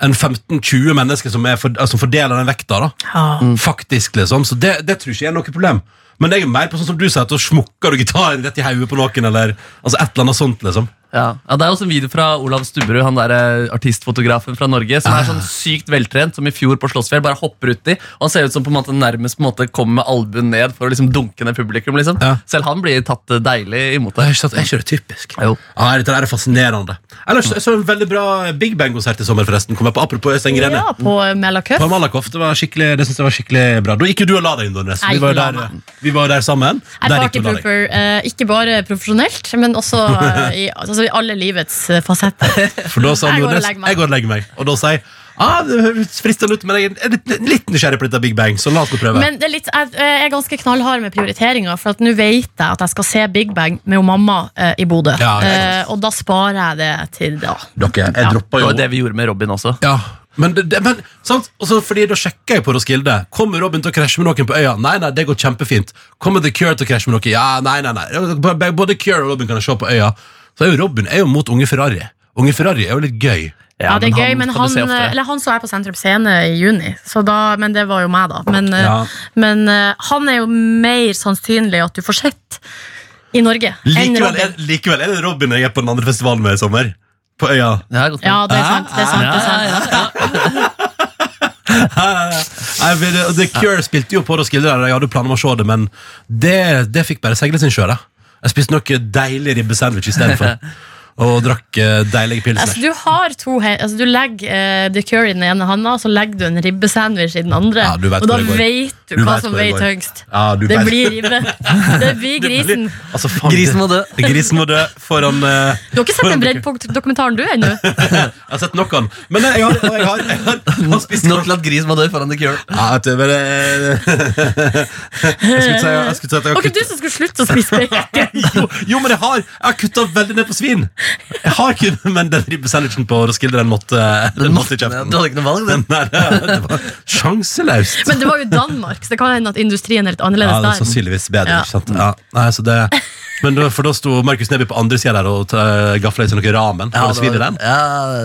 en 15-20 mennesker som, er for, altså, som fordeler den vekta. da Ja. Faktisk, liksom. Så det, det tror ikke jeg er noe problem. Men det er jo mer på sånn som du sier, at da smukker du gitaren rett i hodet på noen, eller altså, et eller annet sånt, liksom. Ja. ja, Det er også en video fra Olav Stubberud, han der eh, artistfotografen fra Norge, som er sånn sykt veltrent, som i fjor på Slottsfjell bare hopper uti. Og han ser ut som på en måte nærmest på en måte kommer med albuen ned for å liksom dunke ned publikum. liksom Ja. Selv han blir tatt eh, deilig imot Det det. er ikke, sant, er ikke det typisk? Jo. Ja, Ah, dette der er fascinerende. Ellers jeg så en veldig bra Big Bang-konsert i sommer, forresten. Kom jeg på, apropos Øystein Grene. Ja, på Mella På Cup. Malakoff, det, var skikkelig- det synes jeg var skikkelig bra. Da gikk jo du og la deg inn, Nordnes. Vi Jeg var jo la der, eh, vi var jo der sammen. Jeg er Der gikk du og la deg. partypooper, eh, ikke bare profesjonelt, men også eh, i, altså, i alle livets eh, fasetter. For da sa Jeg går og Nordnes legger meg. jeg går og legger meg. Og da sier jeg ah, det høres fristende ut, men jeg er litt, litt nysgjerrig på dette Big Bang, så la oss nå prøve. Men det er litt, jeg, jeg er ganske knallhard med prioriteringer, for at nå vet jeg at jeg skal se Big Bang med jo mamma eh, i Bodø. Ja, ja, ja. Eh, og da sparer jeg det til da. Dere, jeg Ja. dropper Det jo var det vi gjorde med Robin også. Ja, men, det, det, men sant? Også fordi da sjekker jeg på Roskilde. Kommer Robin til å krasje med noen på øya? Nei, nei, det går kjempefint. Kommer The Cure til å krasje med noen? Ja, nei, nei, nei. Både Cure og Robin kan jeg se på øya. Så er jo Robin er jo mot unge Ferrari. Unge Ferrari er jo litt gøy. Ja, det er gøy, men han, kan du eh, se oftere. eller han så jeg på Sentrum Scene i juni, så da, men det var jo meg, da. Men, eh, Ja. men eh, han er jo mer sannsynlig at du får sett i Norge enn Likevel er, Robin. likevel er det Robin jeg er på den andre festivalen med i sommer. På øya. Ja, godt Ja, poeng. det er sant. Det er sant, det er sant. Jeg vil, og The Cure spilte jo på Roskilde, der og jeg hadde planer om å se det, men det, det fikk bare seile sin sjø. da. Jeg spiste noe deilig ribbesandwich istedenfor. Og drakk eh, deilige Altså, pilsner. du har to he altså, Du legger eh, The Curry i den ene handa, og så legger du en ribbesandwich i den andre. Ja, du vet og da hvor det går. vet du, Du hva vet som hvor det veier går. tyngst. Ja, du det vet. blir ribbe. Det blir grisen. Altså, faen, Grisen må dø. Grisen må dø foran eh, Du har ikke sett den foran The Cure. Breddpunkt-dokumentaren, du, ennå? Jeg har sett nok av den. Men eh, jeg har, jeg har, jeg har, jeg har spist Nok til at grisen må dø foran The Cure. ja, vet du, men, eh, Jeg skulle si jeg skulle si at jeg har Ok, kuttet du som skulle slutte å spise bacon. jo, jo, men jeg har, jeg har kutta veldig ned på svin. Jeg har kun, Men den ribbesandwichen på Roskilde, den måtte, den måtte i Du kjeften. hadde ikke noe valg, den. Nei, det var sjanseløst. Men det var jo Danmark, så det kan hende at industrien er litt Ja, det er annerledes der. sannsynligvis bedre. Ja. Ikke sant? Ja, nei, så det, men da, for da sto Markus Neby på andre sida der og eh, gafla i seg noe ramen. Har du svidd i den? ja,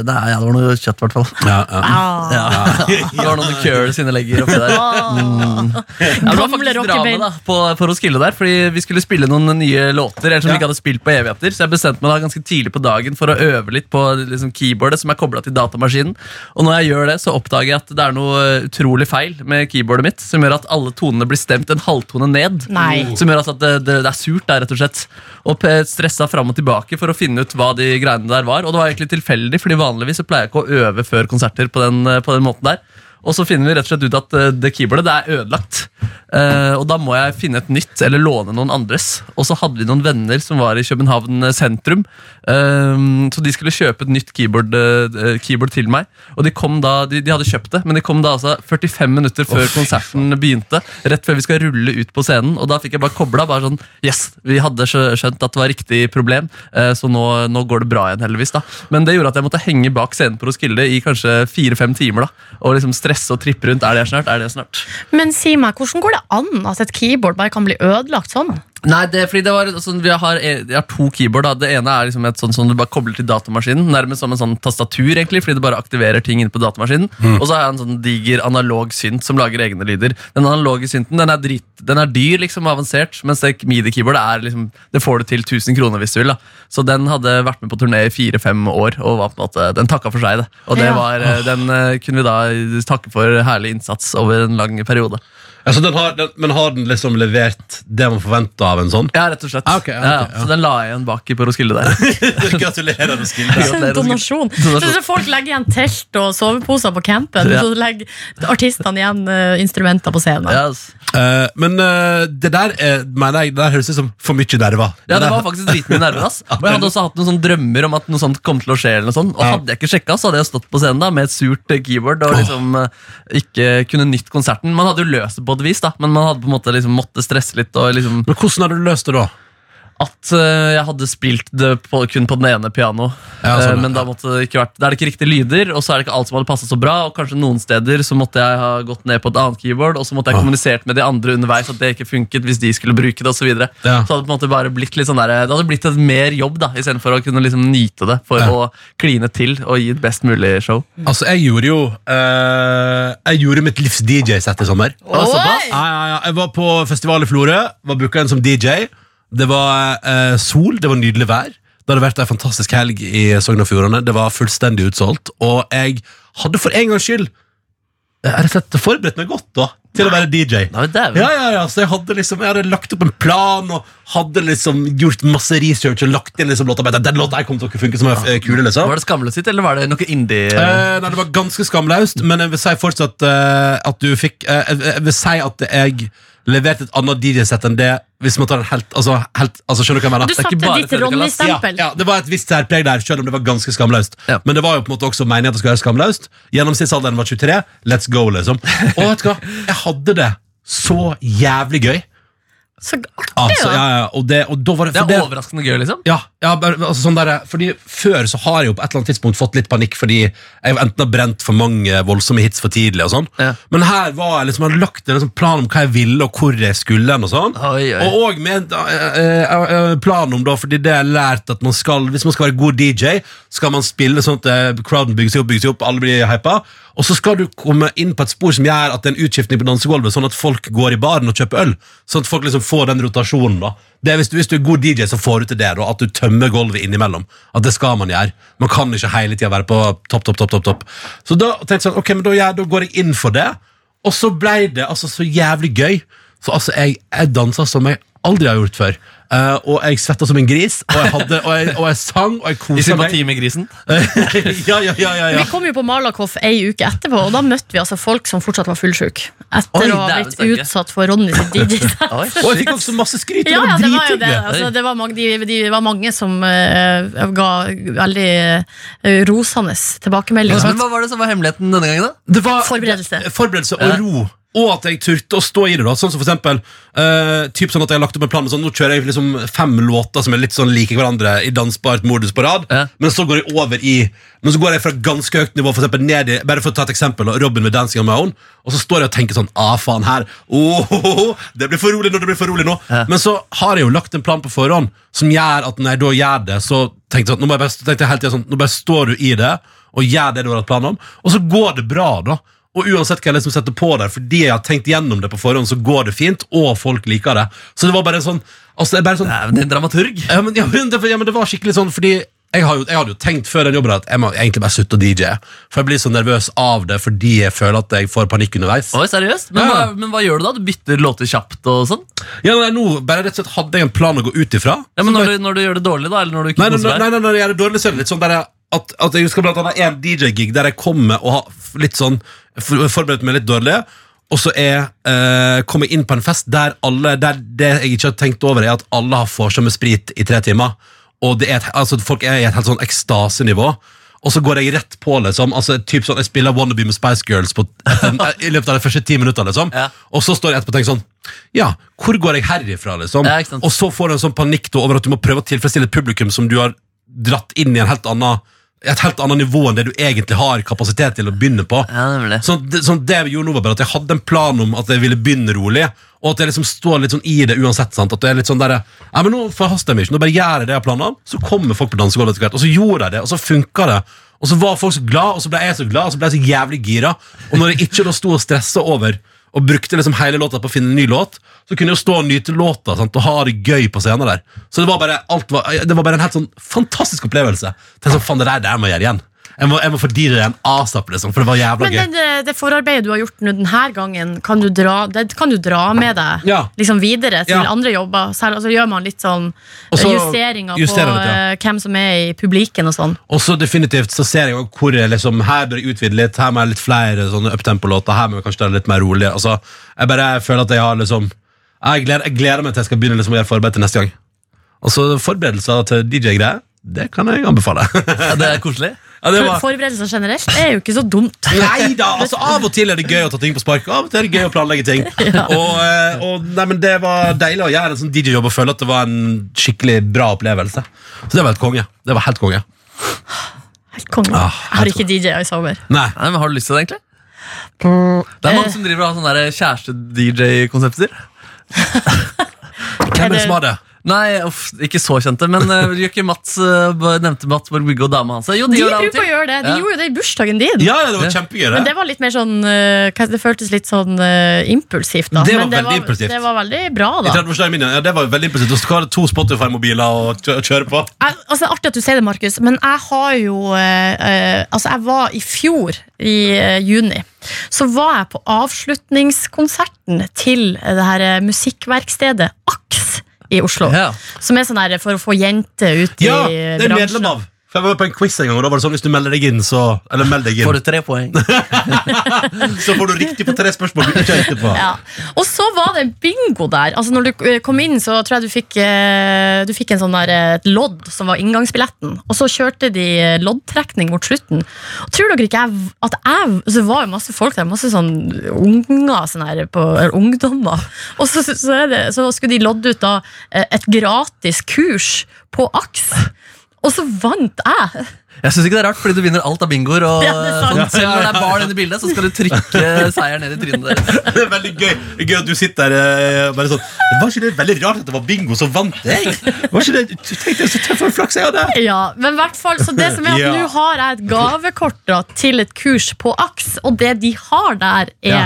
nei, ja, det var noe kjøtt, i hvert fall. Ja, ja. Ah. Ja. Det var noen The Cure sine legger oppi der. Mm. Ja, det Gamle var faktisk drama rockebein. da, på, på Roskilde der, fordi vi skulle spille noen nye låter eller som Ja. vi ikke hadde spilt på evigheter, så jeg bestemte meg da ganske tidlig på dagen for å øve litt på liksom, keyboardet som er koblet til datamaskinen. Og når jeg gjør det, så oppdager jeg at det er noe utrolig feil med keyboardet mitt, som gjør at alle tonene blir stemt en halvtone ned. Nei. Som gjør altså at det, det, det er surt der, rett og slett. Og p- stressa fram og tilbake for å finne ut hva de greiene der var. Og det var egentlig tilfeldig, fordi vanligvis så pleier jeg ikke å øve før konserter på den, eh, på den måten der. Og så finner vi rett og slett ut at eh, det keyboardet det er ødelagt. Eh, og da må jeg finne et nytt, eller låne noen andres. Og så hadde vi noen venner som var i København eh, sentrum. eh, så de skulle kjøpe et nytt keyboard, eh, eh, keyboard til meg. Og de kom da, de, de hadde kjøpt det, men de kom da altså 45 minutter før konserten begynte. Rett før vi skal rulle ut på scenen. Og da fikk jeg bare kobla. Bare sånn, yes, vi hadde skjø- skjønt at det var riktig problem, eh, så nå, nå går det bra igjen, heldigvis. da Men det gjorde at jeg måtte henge bak scenen på Roskilde i kanskje fire-fem timer. da Og liksom stresse og trippe rundt. Er det snart? Er det snart? Men si meg, hvordan går det an at et keyboard bare kan bli ødelagt sånn? Nei, det, fordi det var sånn, vi har, jeg har to keyboard. Da. Det ene er liksom et sånn som du bare kobler til datamaskinen. Nærmest som en sånn tastatur, egentlig, fordi det bare aktiverer ting inne på datamaskinen. Mm. Og så har jeg en sånn diger analog synt som lager egne lyder. Den analoge synten den er, drit, den er dyr liksom og avansert, mens det midi-keyboardet er liksom, det får du til 1000 kroner hvis du vil. da. Så den hadde vært med på turné i fire-fem år, og var på en måte, den takka for seg. det. Og det Ja. var, eh, den eh, kunne vi da takke for herlig innsats over en lang periode. Altså, den har, den, men har den liksom levert det man forventa av en sånn? Ja, rett og slett. Ah, ok, ja, ok, Ja, ja. Så den la jeg igjen baki på Roskilde der. Gratulerer, Roskilde. Gratulerer, Roskilde. Sånn Donasjon. Donasjon. Så folk legger igjen telt og soveposer på campen. Ja. Så legger artistene igjen eh, instrumenter på scenen. Ja, ass. Eh, men eh, det der eh, mener jeg, det der høres ut som for mye nerver. Ja, det der- var faktisk dritmye nerver. ass Og jeg hadde også hatt noen sånne drømmer om at noe sånt kom til å skje. eller noe sånt Og Ja. hadde jeg ikke sjekka, så hadde jeg stått på scenen da med et surt eh, keyboard og liksom eh, ikke kunne nytt konserten. Man hadde jo løst det på et vis, da men man hadde på en måte liksom måtte stresse litt. Og liksom Men hvordan har du løst det da? At eh, jeg hadde spilt det på, kun på den ene piano. Ja, sånn, ja. Eh, men da måtte det ikke vært Da er det ikke riktige lyder, og så er det ikke alt som hadde passa så bra. Og kanskje noen steder så måtte jeg ha gått ned på et annet keyboard, og så måtte jeg Ja. kommunisert med de andre underveis at det ikke funket hvis de skulle bruke det, og Så, videre Ja. så hadde det på en måte bare blitt litt sånn der, det hadde blitt et mer jobb da istedenfor å kunne liksom nyte det for Ja. å kline til og gi et best mulig show. Altså, jeg gjorde jo eh, Jeg gjorde mitt livs DJ-sett i sommer. Oi! Ja, Ah, ja, ja. Jeg var på festival i Florø, var booka inn som DJ. Det var eh, sol, det var nydelig vær. Det hadde vært ei fantastisk helg i Sogn og Fjordane. Det var fullstendig utsolgt. Og jeg hadde for en gangs skyld eh, rett og slett forberedt meg godt da til å være DJ. Nei, men dæven. Ja, ja, ja, så jeg hadde liksom Jeg hadde lagt opp en plan og hadde liksom gjort masse research og lagt inn liksom låta. bare, Den låta her kommer til å funke som er eh, kule, liksom. Var det skamløst sitt, eller var det noe indie? Eh, nei, det var ganske skamlaust, men jeg vil si fortsatt eh, at du fikk eh, jeg- Jeg vil si at jeg leverte et annet DJ-sett enn det, hvis man tar en helt Altså, helt, altså skjønner du hva jeg Du mener? er ikke satte bare ditt Fredrik Alass. Ja, Ronny-stempel. ja, det var et visst særpreg der, selv om det var ganske skamlaust. Ja. Men det var jo på en måte også meningen at det skulle være skamlaust. Gjennomsnittsalderen var 23. Let's go, liksom. Og vet du hva? Jeg hadde det så jævlig gøy. Så artig, Altså, da. ja, ja, og, det, og da var det, Det for er altså, det- overraskende gøy, liksom. ja, ja bare, altså sånn der, fordi før så har jeg jo på et eller annet tidspunkt fått litt panikk fordi jeg enten har brent for mange voldsomme hits for tidlig og sånn. Ja. Men her var jeg liksom, jeg hadde lagt en liksom plan om hva jeg ville og hvor jeg skulle hen og sånn. Oi, oi. Og òg med eh, eh, eh, plan om da, fordi det jeg har lært at man skal, hvis man skal være god DJ, skal man spille sånn at eh, crowden bygger seg opp, bygger seg opp, alle blir hypa. Og så skal du komme inn på et spor som gjør at det er en utskiftning på dansegulvet, sånn at folk går i baren og kjøper øl. Sånn at folk liksom får den rotasjonen. da. Det er hvis, du, hvis du er god DJ, så får du til det, da, at du tømmer gulvet innimellom. At det skal man gjøre. Man kan ikke hele tida være på topp, topp, topp. topp, topp. Så da tenkte jeg sånn, ok, men da, gjør- da går jeg inn for det. Og så ble det altså så jævlig gøy. Så altså, jeg, jeg dansa som jeg aldri har gjort før. Eh, og jeg svetta som en gris, og jeg, hadde, og jeg, og jeg sang og jeg I kosa meg. sympati med grisen. ja, ja, ja, ja, ja. Vi kom jo på Malakoff ei uke etterpå, og da møtte vi altså folk som fortsatt var fullsjuke. Etter Oi, å ha dæven blitt steike. utsatt for Ronny sitt DJ-sett. Oi. Og jeg fikk også masse skryt. Ja, ja, og det det var var jo det. drithyggelig. Altså, det var mange, de, de var mange som eh, ga veldig eh, rosende Ja, tilbakemeldinger. Men hva var det som var hemmeligheten denne gangen, da? Det var Forberedelse. forberedelse og Ja. ro. Og at jeg turte å stå i det. da Sånn som for eksempel eh, Typ sånn at jeg har lagt opp en plan med sånn Nå kjører jeg liksom fem låter som er litt sånn like hverandre i dansbart modus på rad. Ja. Men så går jeg over i Men så går jeg fra ganske høyt nivå for eksempel, ned i Bare for å ta et eksempel. da, Robin med 'Dancing on my own'. Og så står jeg og tenker sånn Ah, faen, her. Oh, det blir for rolig nå! Det blir for rolig nå Ja. Men så har jeg jo lagt en plan på forhånd som gjør at når jeg da gjør det, så tenkte jeg, sånn, nå, må jeg bare, tenkte jeg hele tiden sånn, nå bare står du i det og gjør det du har hatt plan om, og så går det bra, da. Og uansett hva jeg liksom setter på der, fordi jeg har tenkt gjennom det på forhånd, så går det fint, og folk liker det. Så det var bare en sånn altså, det er bare sånn Nei, men det er en dramaturg. ja, men, ja, men, det, ja, men det var skikkelig sånn Fordi jeg, har jo, jeg hadde jo tenkt før den jobben At jeg må egentlig bare slutte å DJ For jeg blir så nervøs av det Fordi jeg føler at jeg får panikk underveis Oi, seriøst? Men, Ja. hva, men hva gjør du da? Du bytter låter kjapt og sånn? Ja, nei, nå bare rett og slett hadde jeg en plan å gå ut ifra Ja, men når du, når du gjør det dårlig, da? Eller når du ikke Nei, nei, koser nei, deg? nei, nei, jeg er dårlig søvn Litt sånn der jeg, at, at jeg husker blant annet en DJ-gig Der jeg kommer og har f- litt sånn for, Forberedt meg litt dårlig Og så er eh, Kommer jeg inn på en fest der alle Der det jeg ikke har tenkt over er at alle har forsomme med sprit i tre timer Og det er et, altså, folk er i et helt sånn ekstasenivå og så går jeg rett på, liksom altså, typ sånn, Jeg spiller Wannabe med Spice Girls på, I løpet av de første ti minutter liksom. Ja. Og så står jeg etterpå og tenker sånn Ja, hvor går jeg herifra, liksom? Ja, ikke sant. og så får du en sånn panikk da, over at du må prøve å tilfredsstille et publikum som du har dratt inn i en helt annen, et helt annet nivå enn det du egentlig har kapasitet til å begynne på. Ja, nemlig. Så Sånn det, så det vi gjorde nå var bare at jeg hadde en plan om at jeg ville begynne rolig, og at jeg liksom står litt sånn i det uansett. sant? At det er litt sånn der, Nei, men nå forhaster jeg meg ikke, nå bare gjør jeg det jeg har planer om, så kommer folk på dansegulvet etter hvert. Og så gjorde jeg det, og så funka det. Og så var folk så glad, og så ble jeg så glad, og så ble jeg så jævlig gira. Og når jeg ikke da sto og stressa over og brukte liksom hele låta på å finne en ny låt, så kunne jeg jo stå og nyte låta sant? og ha det gøy på scenen der. Så det var bare, alt var, det var bare en helt sånn fantastisk opplevelse. Tenk sånn, faen, det der, det der må jeg gjøre igjen. Jeg må, jeg må fordire den asap, liksom, for det var jævla Men gøy. den, eh, det forarbeidet du har gjort nå denne gangen, kan du dra, det kan du dra med deg Ja. liksom videre til Ja. andre jobber? Særlig, og så gjør man litt sånn eh, Og så justeringer på justerer litt, ja. eh, hvem som er i publikken og sånn. Og så definitivt så ser jeg også hvor jeg liksom, Her bør jeg utvide litt, her må jeg ha litt flere sånne uptempo-låter. Her må jeg kanskje gjøre det litt mer rolig. Altså, jeg bare føler at jeg har liksom Jeg gleder, jeg gleder meg til jeg skal begynne liksom, å gjøre forarbeid til neste gang. Og så forberedelser til DJ-greier, det kan jeg anbefale. Ja, det er koselig. ja, det var... Forberedelser generelt er jo ikke så dumt. Nei da! Altså, av og til er det gøy å ta ting på spark, og av og til er det gøy å planlegge ting. Og, eh, og nei, men Det var deilig å gjøre en sånn DJ-jobb og føle at det var en skikkelig bra opplevelse. Så det var helt konge. Det var helt konge. Helt konge. Ah, Jeg har ikke DJ-a i sommer. Nei. Nei, men Har du lyst til det, egentlig? Det er Eh, mange som driver og har sånne der kjæreste-DJ-konsepter. Hvem er det som har det? Nei, uff, ikke så kjente, men eh, gjør ikke Mats eh, bare nevnte Mats Borg Bygge og dama hans? Jo, de, De gjør det av og bruker å til. gjøre det. De Ja. gjorde jo det i bursdagen din. Ja, ja, det var kjempegøy. Men det var litt mer sånn eh, hva- Det føltes litt sånn eh, impulsivt, da. Det var Men veldig impulsivt. Det var veldig bra, I da. 30-årsdagen min, ja, ja, det var jo veldig impressivt. Og så var det to Spotify-mobiler å kjø- kjøre på. jeg, altså, det er artig at du sier det, Markus, men jeg har jo eh, eh, Altså, jeg var i fjor, i eh, juni, så var jeg på avslutningskonserten til eh, det her eh, musikkverkstedet AKS i Oslo. Ja. Som er sånn her for å få jenter ut Ja, i det er jeg bransjen. medlem av. For jeg var med på en quiz en gang, og da var det sånn hvis du melder deg inn, så Eller meld deg Får inn, du tre poeng? så får du riktig på tre spørsmål du ikke har riktig på. Ja. Og så var det bingo der. Altså når du eh, kom inn, så tror jeg du fikk, eh, du fikk en sånn der, eh, et lodd som var inngangsbilletten. Og så kjørte de eh, loddtrekning mot slutten. Og tror dere ikke jeg, v- at jeg altså, Det var jo masse folk der, masse sånn unger sånn her, på, eller ungdommer. Og så, så, så, er det, så skulle de lodde ut da eh, et gratis kurs på AKS. Og så vant jeg! Jeg syns ikke det er rart, fordi du vinner alt av bingoer. Og Ja, det er sant. sånn, selv når det er barn inne i bildet, så skal du trykke seieren ned i trynet deres. Det er veldig gøy. Det er gøy at du sitter der eh, bare sånn Det var ikke det veldig rart at det var bingo som vant jeg? Var ikke det, tenkte jeg Så tøff og flaks jeg hadde. Ja, men i hvert fall Så det som er at Ja. nå har jeg et gavekort da, til et kurs på AKS, og det de har der, er Ja.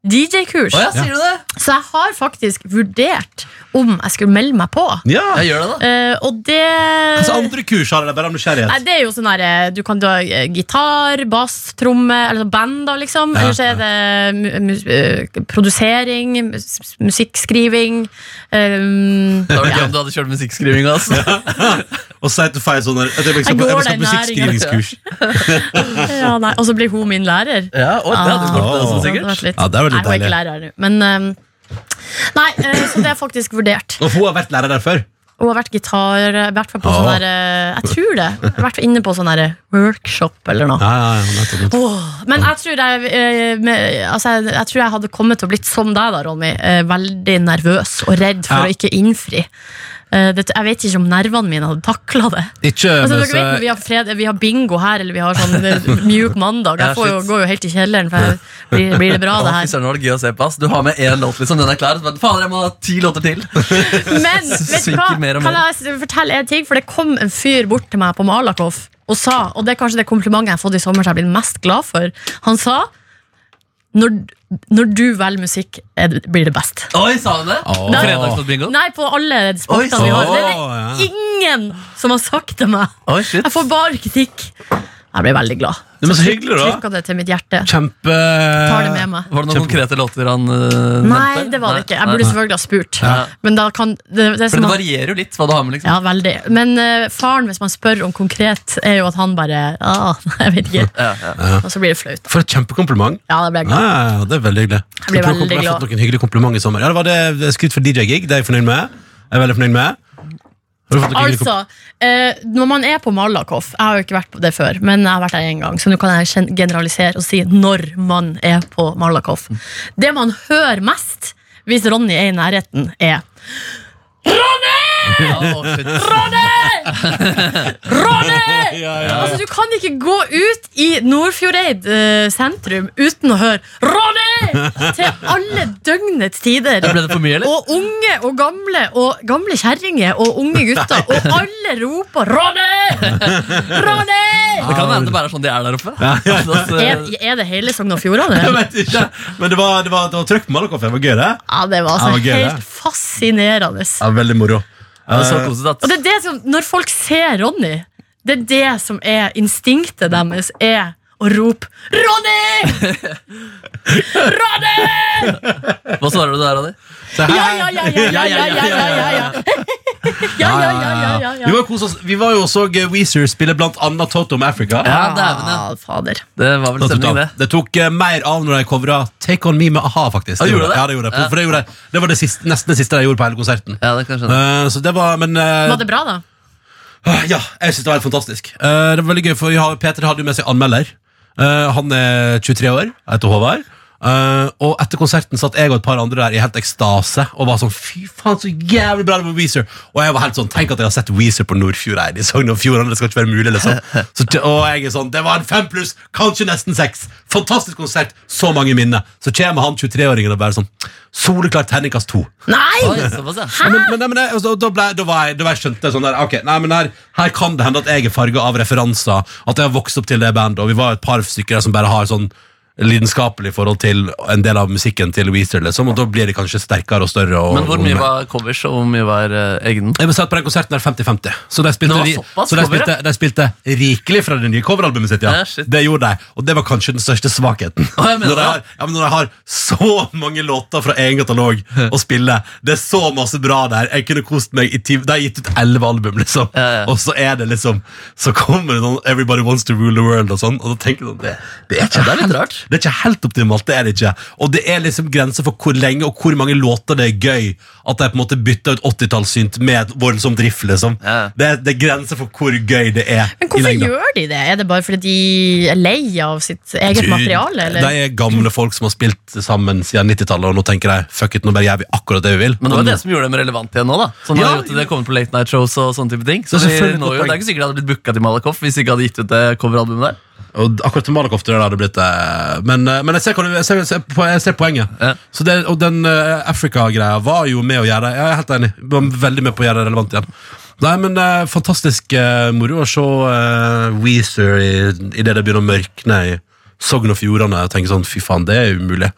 DJ-kurs. Å ja, sier du det? Så jeg har faktisk vurdert om jeg skulle melde meg på. Ja. Jeg gjør det, da. Eh, og det Altså, andre kurs har jeg det, bare av Nei, nysgjerrighet. det er jo sånn her eh, Du kan dra eh, gitar, bass, tromme Eller sånn band da liksom Ja, Eller så er det mu- mus- eh, produsering mus- Musikkskriving um, Da var det gøy om du hadde kjørt musikkskriving. Altså. Og så er det feil sånn der, jeg, jeg, Jeg skal på- går jeg skal den på musikkskrivingskurs. ja, nei, Og så blir hun min lærer Ja, og det hadde gjort Ah. det, sånn, Det hadde sikkert. vært litt- Ja, det er veldig Nei, Jeg var ikke deilig. lærer nå, men ehm, Nei, eh, så det er faktisk vurdert. Og hun har vært lærer der før. Og har vært gitar, i hvert fall på Ah. sånn der eh, Jeg tror det. Jeg har Vært inne på sånn der workshop eller noe. Ja, ja, ja, nettopp, nettopp. Åh, men jeg tror jeg, eh, med, altså jeg, jeg tror jeg hadde kommet til å blitt som deg, da, Ronny. eh, Veldig nervøs og redd for Ja. å ikke innfri. Eh, Det, jeg vet ikke om nervene mine hadde takla det. Ikke Altså, dere vet, mens når jeg- vi, har fred, vi har bingo her, eller vi har sånn eh, mjuk mandag. Ja, Jeg får jo, shit. går jo helt i kjelleren, for jeg, blir, blir det bra, Å, det fy her? søren, det var det gøy å se på. ass. Du har med én låt, liksom. Den er klar. og så bare, Fader, jeg må ha ti låter til. Men vet du Synker hva? mer og Kan mer. jeg s- fortelle en ting? For det kom en fyr bort til meg på Malakoff og sa, og det er kanskje det komplimentet jeg har fått i sommer som jeg blir mest glad for, han sa når, når du velger musikk, er det- blir det best. Oi, sa hun det? Åh. Fredagsbingo? Nei, på alle Oi, sportene vi har. Det så- er det ingen som har sagt til meg. Oi, shit. Jeg får bare kritikk. Jeg blir veldig glad. Det var så hyggelig, da. Trykka det til mitt hjerte. Kjempe Tar det med meg. Var det noen konkrete låter han eh, nevnte? Nei, det var det ikke. Jeg Nei, burde nei. selvfølgelig ha spurt. Ja. Men da kan det, det er For som det at- varierer jo litt hva du har med, liksom. Ja, veldig. Men eh, faren, hvis man spør om konkret, er jo at han bare ah, Jeg vet ikke. Ja, ja. Og så blir det flaut. da. For et kjempekompliment. Ja, da blir jeg Ja, glad. ja, ja, det er veldig hyggelig. Jeg blir Jeg tror veldig jeg har glad. fått noen hyggelige komplimenter i sommer. Ja, det var det skryt for DJ-gig. Det er jeg fornøyd med. Jeg er veldig fornøyd med. Har du fått noen hyggelige Altså, eh, når man er på Malakoff Jeg har jo ikke vært på det før, men jeg har vært der én gang. Så nå kan jeg gen- generalisere og si når man er på Malakoff. Mm. Det man hører mest hvis Ronny er i nærheten, er Å, shit. Ronny! kom- ja, ja. Altså, Du kan ikke gå ut i Nordfjordeid eh, sentrum uten å høre 'Ronny!' til alle døgnets tider. Ble det for mye, eller? Og unge og gamle og gamle kjerringer og unge gutter, og alle roper 'Ronny! Ronny!' Det kan være det bare er sånn de er der oppe. Altså, Er, er det hele Sogn og Fjordane? Jeg vet ikke. Men det var, det var, det var trøkk på Malakoff. Det var gøy, det. Ja, det var Ja, altså det var gøy, det. helt fascinerende. Ja, veldig moro. ja, det er så Og koselig at det er det som, Når folk ser Ronny Det er det som er instinktet deres, er å rope 'Ronny! Ronny!' Hva svarer du der, Ronny? Så her- Ja, ja, ja, ja, ja, ja, ja, ja, ja, ja. Ja, ja, ja, ja, ja, Vi, ja. var kos oss. vi var jo også eh, Weezer spille blant annet Totom Africa. Ja, dæven, ja. Ah, Fader. Det var vel Da tok stemning, det. det. det tok eh, mer av når de covra Take On Me med a-ha, faktisk. Ja, gjorde det? Ja, det, gjorde det. Ja. For det, gjorde jeg. det var det siste, nesten det siste jeg gjorde på hele konserten. Ja, det kan jeg skjønne. Eh, så det var, men eh, Var det bra, da? Ah, Ja, jeg synes det var helt fantastisk. Eh, det var veldig gøy, for vi har, Peter hadde jo med seg anmelder. Eh, han er 23 år, jeg heter Håvard. Eh, og etter konserten satt jeg og et par andre der i helt ekstase og var sånn Fy faen, så jævlig bra det var Weezer! Og jeg var helt sånn Tenk at jeg har sett Weezer på Nordfjordeid i Sogn og Fjordane, det skal ikke være mulig, liksom. Så, t- og jeg er sånn Det var en fem pluss, kanskje nesten seks. Fantastisk konsert, så mange minner. Så kommer han 23-åringen og bare sånn Soleklart terningkast to. Nei! Oi, såpass, ja. Ja, Men, men, nei, men jeg, altså, da, ble, da, var jeg, da var jeg skjønte jeg sånn der Ok, nei, men her, her kan det hende at jeg er farga av referanser. At jeg har vokst opp til det bandet, og vi var et par stykker der som bare har sånn lidenskapelig forhold til en del av musikken til Weezer, liksom, og da blir det kanskje sterkere og større. Og, Men hvor mye var covers, og hvor mye var eh, egen? jeg ble satt på den konserten der 50-50. Så de spilte, Det var ri- såpass så de cover, spilte, de spilte rikelig fra det nye coveralbumet sitt. Ja. Ja, shit. det gjorde de, og det var kanskje den største svakheten. Å, jeg mener når, de det. har, ja, men når de har så mange låter fra egen katalog å spille, det er så masse bra der. Jeg kunne kost meg i ti, De har gitt ut elleve album, liksom. Ja, ja. Og så er det liksom Så kommer det sånn Everybody Wants to Rule the World og sånn, og da tenker du sånn det, det er ikke Ja, det er litt rart. det er ikke helt optimalt, det er det ikke. Og det er liksom grenser for hvor lenge og hvor mange låter det er gøy at de på en måte bytter ut 80-tallssynt med et voldsomt riff, liksom. Ja. Det, er, det er grenser for hvor gøy det er Men i hvorfor lengden. gjør de det? Er det bare fordi de er lei av sitt eget Du, materiale? Eller? De er gamle folk som har spilt sammen siden 90-tallet, og nå tenker de fuck it, nå bare gjør vi akkurat det vi vil. Men det var Og det nå- som gjorde dem relevant igjen nå, da. Som Mm. Ja, har gjort at de har kommet på late night shows og sånne type ting. Så Det er vi selvfølgelig et når godt jo, poeng. det er ikke sikkert de hadde blitt booka til Malakoff hvis de ikke hadde gitt ut det coveralbumet der. Og akkurat til Malakoff tror jeg det hadde blitt det. Men, eh, men jeg, ser, hva du- jeg, ser, jeg, ser, po- jeg ser poenget. Ja. Så det, og den eh, Africa-greia var jo med å gjøre det. Jeg er helt enig. Du var veldig med på å gjøre det relevant igjen. Nei, men eh, Fantastisk eh, moro å se eh, Weezer i, i det det begynner å mørkne i Sogn og Fjordane. Og tenke sånn, fy faen, det er umulig.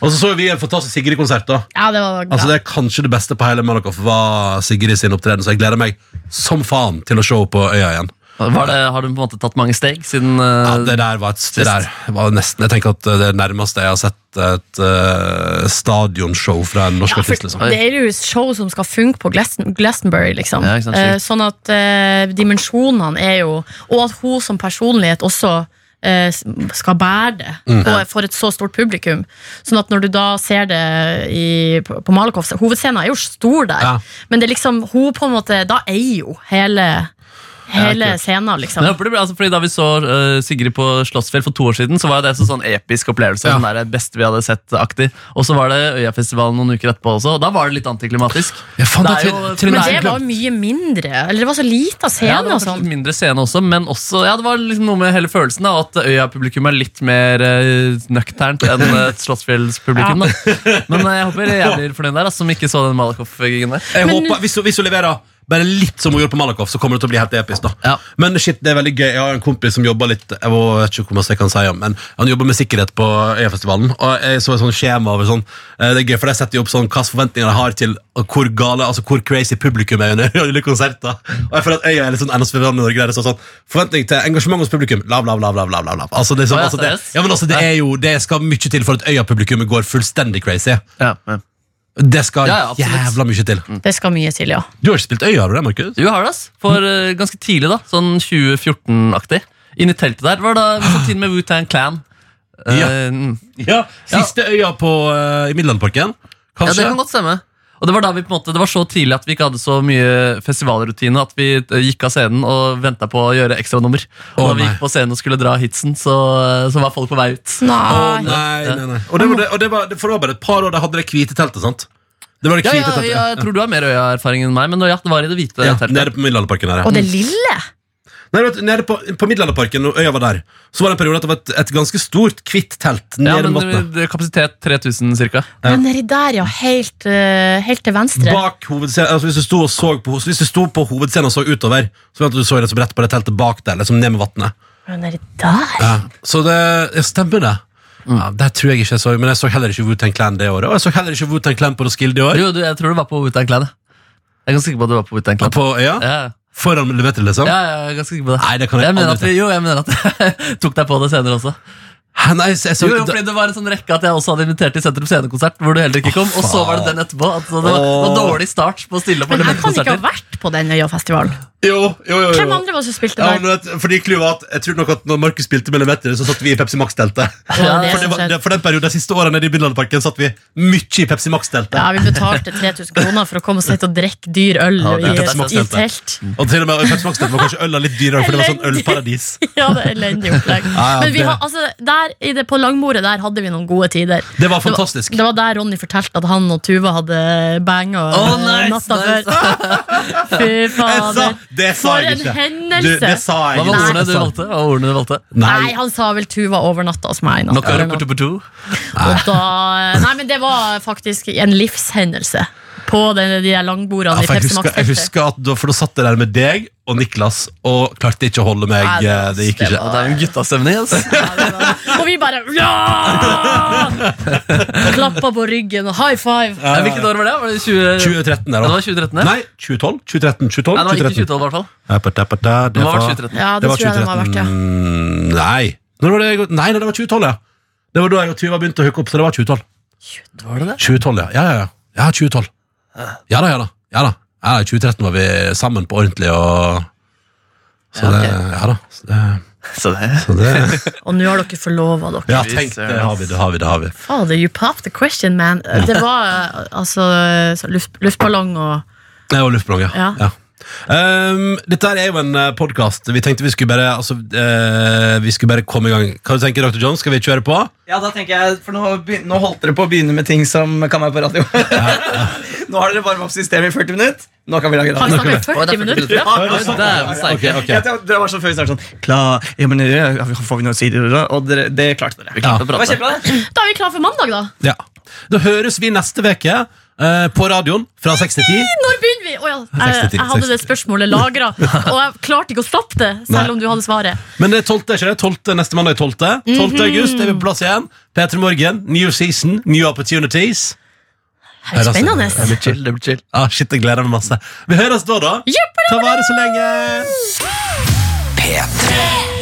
Og så så vi en fantastisk Sigrid-konsert. da Ja, det var bra. Altså Det er kanskje det beste på hele Malakoff var Sigrid sin opptreden, så jeg gleder meg som faen til å se henne på øya igjen. Var det, har du på en måte tatt mange steg siden eh, Ja, det der var, et, det der var nesten Jeg tenker at det er det nærmeste jeg har sett et eh, stadionshow fra en norsk Ja, artist. for Liksom. Det er jo show som skal funke på Glaston- Glastonbury, liksom. Ja, ikke sant, Eh, sjukt. sånn at eh, dimensjonene er jo Og at hun som personlighet også eh, s- skal bære det Mm. og for et så stort publikum. Sånn at når du da ser det i, på på Malakoff Hovedscenen er jo stor der, Ja. men det er liksom hun på en måte Da eier jo hele, hele kult. scenen, liksom. Men jeg håper det blir, altså, fordi Da vi så eh, Sigrid på Slottsfjell for to år siden, Så var jo det en sånn episk opplevelse. Ja. Den der eh, beste vi hadde sett-aktig Og så var det Øyafestivalen noen uker etterpå også, og da var det litt antiklimatisk. Ja, faen, Det det er er jo- til- til Men og med det det jeg var glemt. mye mindre. Eller det var så lite av Ja, det scenen var og kanskje sånn. litt mindre scene også, men også, ja, det var liksom noe med hele følelsen da, at Øya-publikum er litt mer eh, nøkternt enn eh, Slottsfjells-publikum. da. Men eh, jeg håper jeg blir fornøyd der, da, som ikke så den Malakoff-gingen der. Jeg Men- håper, hvis, hun- hvis hun leverer bare litt som hun gjorde på Malakoff, så kommer det til å bli helt episk. da Ja. Men shit, det er veldig gøy. Jeg har en kompis som jobber litt Jeg må- jeg vet ikke hvor mye jeg kan si om Men han jobber med sikkerhet på Øyafestivalen. Og jeg så et sånt skjema over sånn eh, Det er gøy, for de setter jo opp sånn hvilke forventninger de har til hvor gale, altså hvor crazy publikum er under ulike konserter. Og jeg føler at Øya er litt sånn NSB-land i Norge. Der det står sånn Forventning til engasjement hos publikum. Lav, lav, lav, lav, lav, lav, lav. Altså, det, er sånn, Å, ja, altså, det, seriøst? ja, men altså, det er jo Det skal mye til for at Øya-publikummet går fullstendig crazy. Ja, ja. Det skal Ja, ja, absolutt. jævla mye til. Det skal mye til, ja. Du har ikke spilt Øya, har du det, Markus? Du har det, ass. For eh, ganske tidlig, da. Sånn 2014-aktig. Inn i teltet der. Var da vi satt inn med Wu-Tang Clan. Eh, Ja. mm. Ja, Siste øya på, eh, i Middelandparken. ja, det Kanskje. kan godt stemme. Og det var da vi på en måte, det var så tidlig at vi ikke hadde så mye festivalrutine at vi eh, gikk av scenen og venta på å gjøre ekstranummer. Og Å, da vi nei. gikk på scenen og skulle dra hitsen, så, eh, så var folk på vei ut. Nei. nei, nei, nei. Og det var, det, og det var, det- for det var bare et par år de hadde det hvite teltet, sant? Det var det Ja, hvite ja, teltet ja, jeg tror du har mer Øya-erfaring enn meg, men ja, det var i det hvite Ja, teltet. nede på Middelalderparken. der, ja. Og det lille! Nei, vet, du, nede på, på Middelalderparken, når øya var der, så var det en periode at det var et, et ganske stort, hvitt telt nede Ja, ved men vannet. det- Kapasitet 3000 ca. Ja. Men nedi der, ja. Helt, eh, helt til venstre. Bak hovedscenen, altså hvis du sto og så på, så hvis du sto på hovedscenen og så utover, så vet du at du så liksom rett på det teltet bak der, liksom ned med vannet. Men nedi der? Ja. Så det ja, stemmer, det. Mm. Ja, det tror jeg ikke jeg så, men jeg så heller ikke Wu-Tang Clan det året. Og jeg så heller ikke Wu-Tang Clan på Roskilde i år. Jo, du, jeg tror du var på Wu-Tang Clan. ja. Jeg er ganske sikker på at du var på Wu-Tang Clan. På øya. Ja. foran millimeter, liksom? Ja, ja, jeg er ganske sikker på det. Nei, det kan jeg mener aldri at, Jo, jeg mener at jeg tok deg på det senere også. Hæ, Nei, så, jeg så, Jo, jo, fordi Det var en sånn rekke at jeg også hadde invitert til Sentrum Scenekonsert, hvor du heller ikke kom. Og så var det den etterpå. At det var, det var dårlig start på å stille opp Men jeg kan ikke ha elementkonserter. vært på den Øyafestivalen. jo, jo, jo, Hvem jo. andre var det som spilte Ja, der? men vet, fordi clouet var at Jeg tror nok at når Markus spilte millimeter, så satt vi i Pepsi Max-teltet. Ja, det For, det som var- skjedde. det- for den perioden, de siste årene nede i Billandparken satt vi mye i Pepsi Max-teltet. Ja, Vi betalte 3000 kroner for å komme og sitte og drikke dyr øl Ja, det i, er et smått i sted. telt. Og til og med Pepsi Max-teltet var kanskje øla litt dyrere, for det var sånn ølparadis. Ja, det er elendig opplegg. Ja, ja, Men vi det- har, altså, der, i det, på langbordet der hadde vi noen gode tider. Det var fantastisk. Det var der Ronny fortalte at han og Tuva hadde banga Å, eh, nice, natta nice. før. Fy Jeg sa, fader. det sa For jeg en ikke. hendelse! Du, det sa jeg Hva var ikke. ordene du valgte? Hva var ordene du valgte? Nei, han sa vel Tuva overnatta hos meg. i natt, Noe eller noe. ruputuputu? Og da, nei, men det var faktisk en livshendelse på den, de der langbordene Ja, i for Pepsi jeg, husker, jeg Max-teltet. husker at da, for da satt jeg der med deg og Niklas og klarte ikke å holde meg. Nei, det var- eh, Det gikk det ikke. Ja, det er jo en guttastemning. Altså. Ja, det var- Og vi bare ja! Klappa på ryggen og high five. Nei, Eh, Hvilket år var det? Var det 20... 2013 der Ja, Det da. var 2013? ja. Nei, 2012? 2013? 2012? Nei, det var ikke 2012 i hvert fall. Apatapata, Det var var- 2013. Ja, det, var tror jeg det må ha vært, ja. 2013. Nei. Når var det jeg, nei, nei, det var 2012, ja. Det var da jeg og Tuva begynte å hooke opp, så det var 2012. Var det det? 2012, ja. Ja, ja, ja. ja 2012. Ja da, ja da. Ja da. Ja, da, I 2013 var vi sammen på ordentlig og Så Ja, ok. det Ja da. Så det, Så det så det Og nå har dere forlova dere. Ja, tenk, det har vi, det har vi. det har vi Fader, you popped the question, man. Det var eh, altså så luft, luftballong og Det var luftballong, ja. Ja. ja. Ehm, dette her er jo en podkast. Vi tenkte vi skulle bare altså, eh, Vi skulle bare komme i gang. Hva du tenker du, Dr. John? Skal vi kjøre på? Ja, da tenker jeg, for nå, be- nå holdt dere på å begynne med ting som kan være på radio. nå har dere varmeoppsystemet i 40 minutter. Nå kan vi lage Har vi snakka radio. i 40 minutter? Dæven steike. Ok, ok. Jeg tenkte- Dere var så før vi startet sånn Klar, ja, men ja, Får vi noen sider? da?» Og dere, det klarte dere. Ja. Å Det var prate. kjempebra, det. Da er vi klare for mandag, da. Ja. Da høres vi neste uke eh, på radioen fra 6 til 10. Når begynner vi? Å ja, jeg, 60, jeg hadde det 60. spørsmålet lagra, og jeg klarte ikke å stoppe det. Nei. Selv om du hadde svaret. Men det er 12. ikke det? 12. neste mandag er 12. 12. august er vi på plass igjen. P3 Morgen, new season, new opportunities. Her er Spennende. Det blir chill. Det blir chill. Ah, shit, jeg gleder meg masse. Vi høres da, da. Jippi! Ta vare så lenge. P3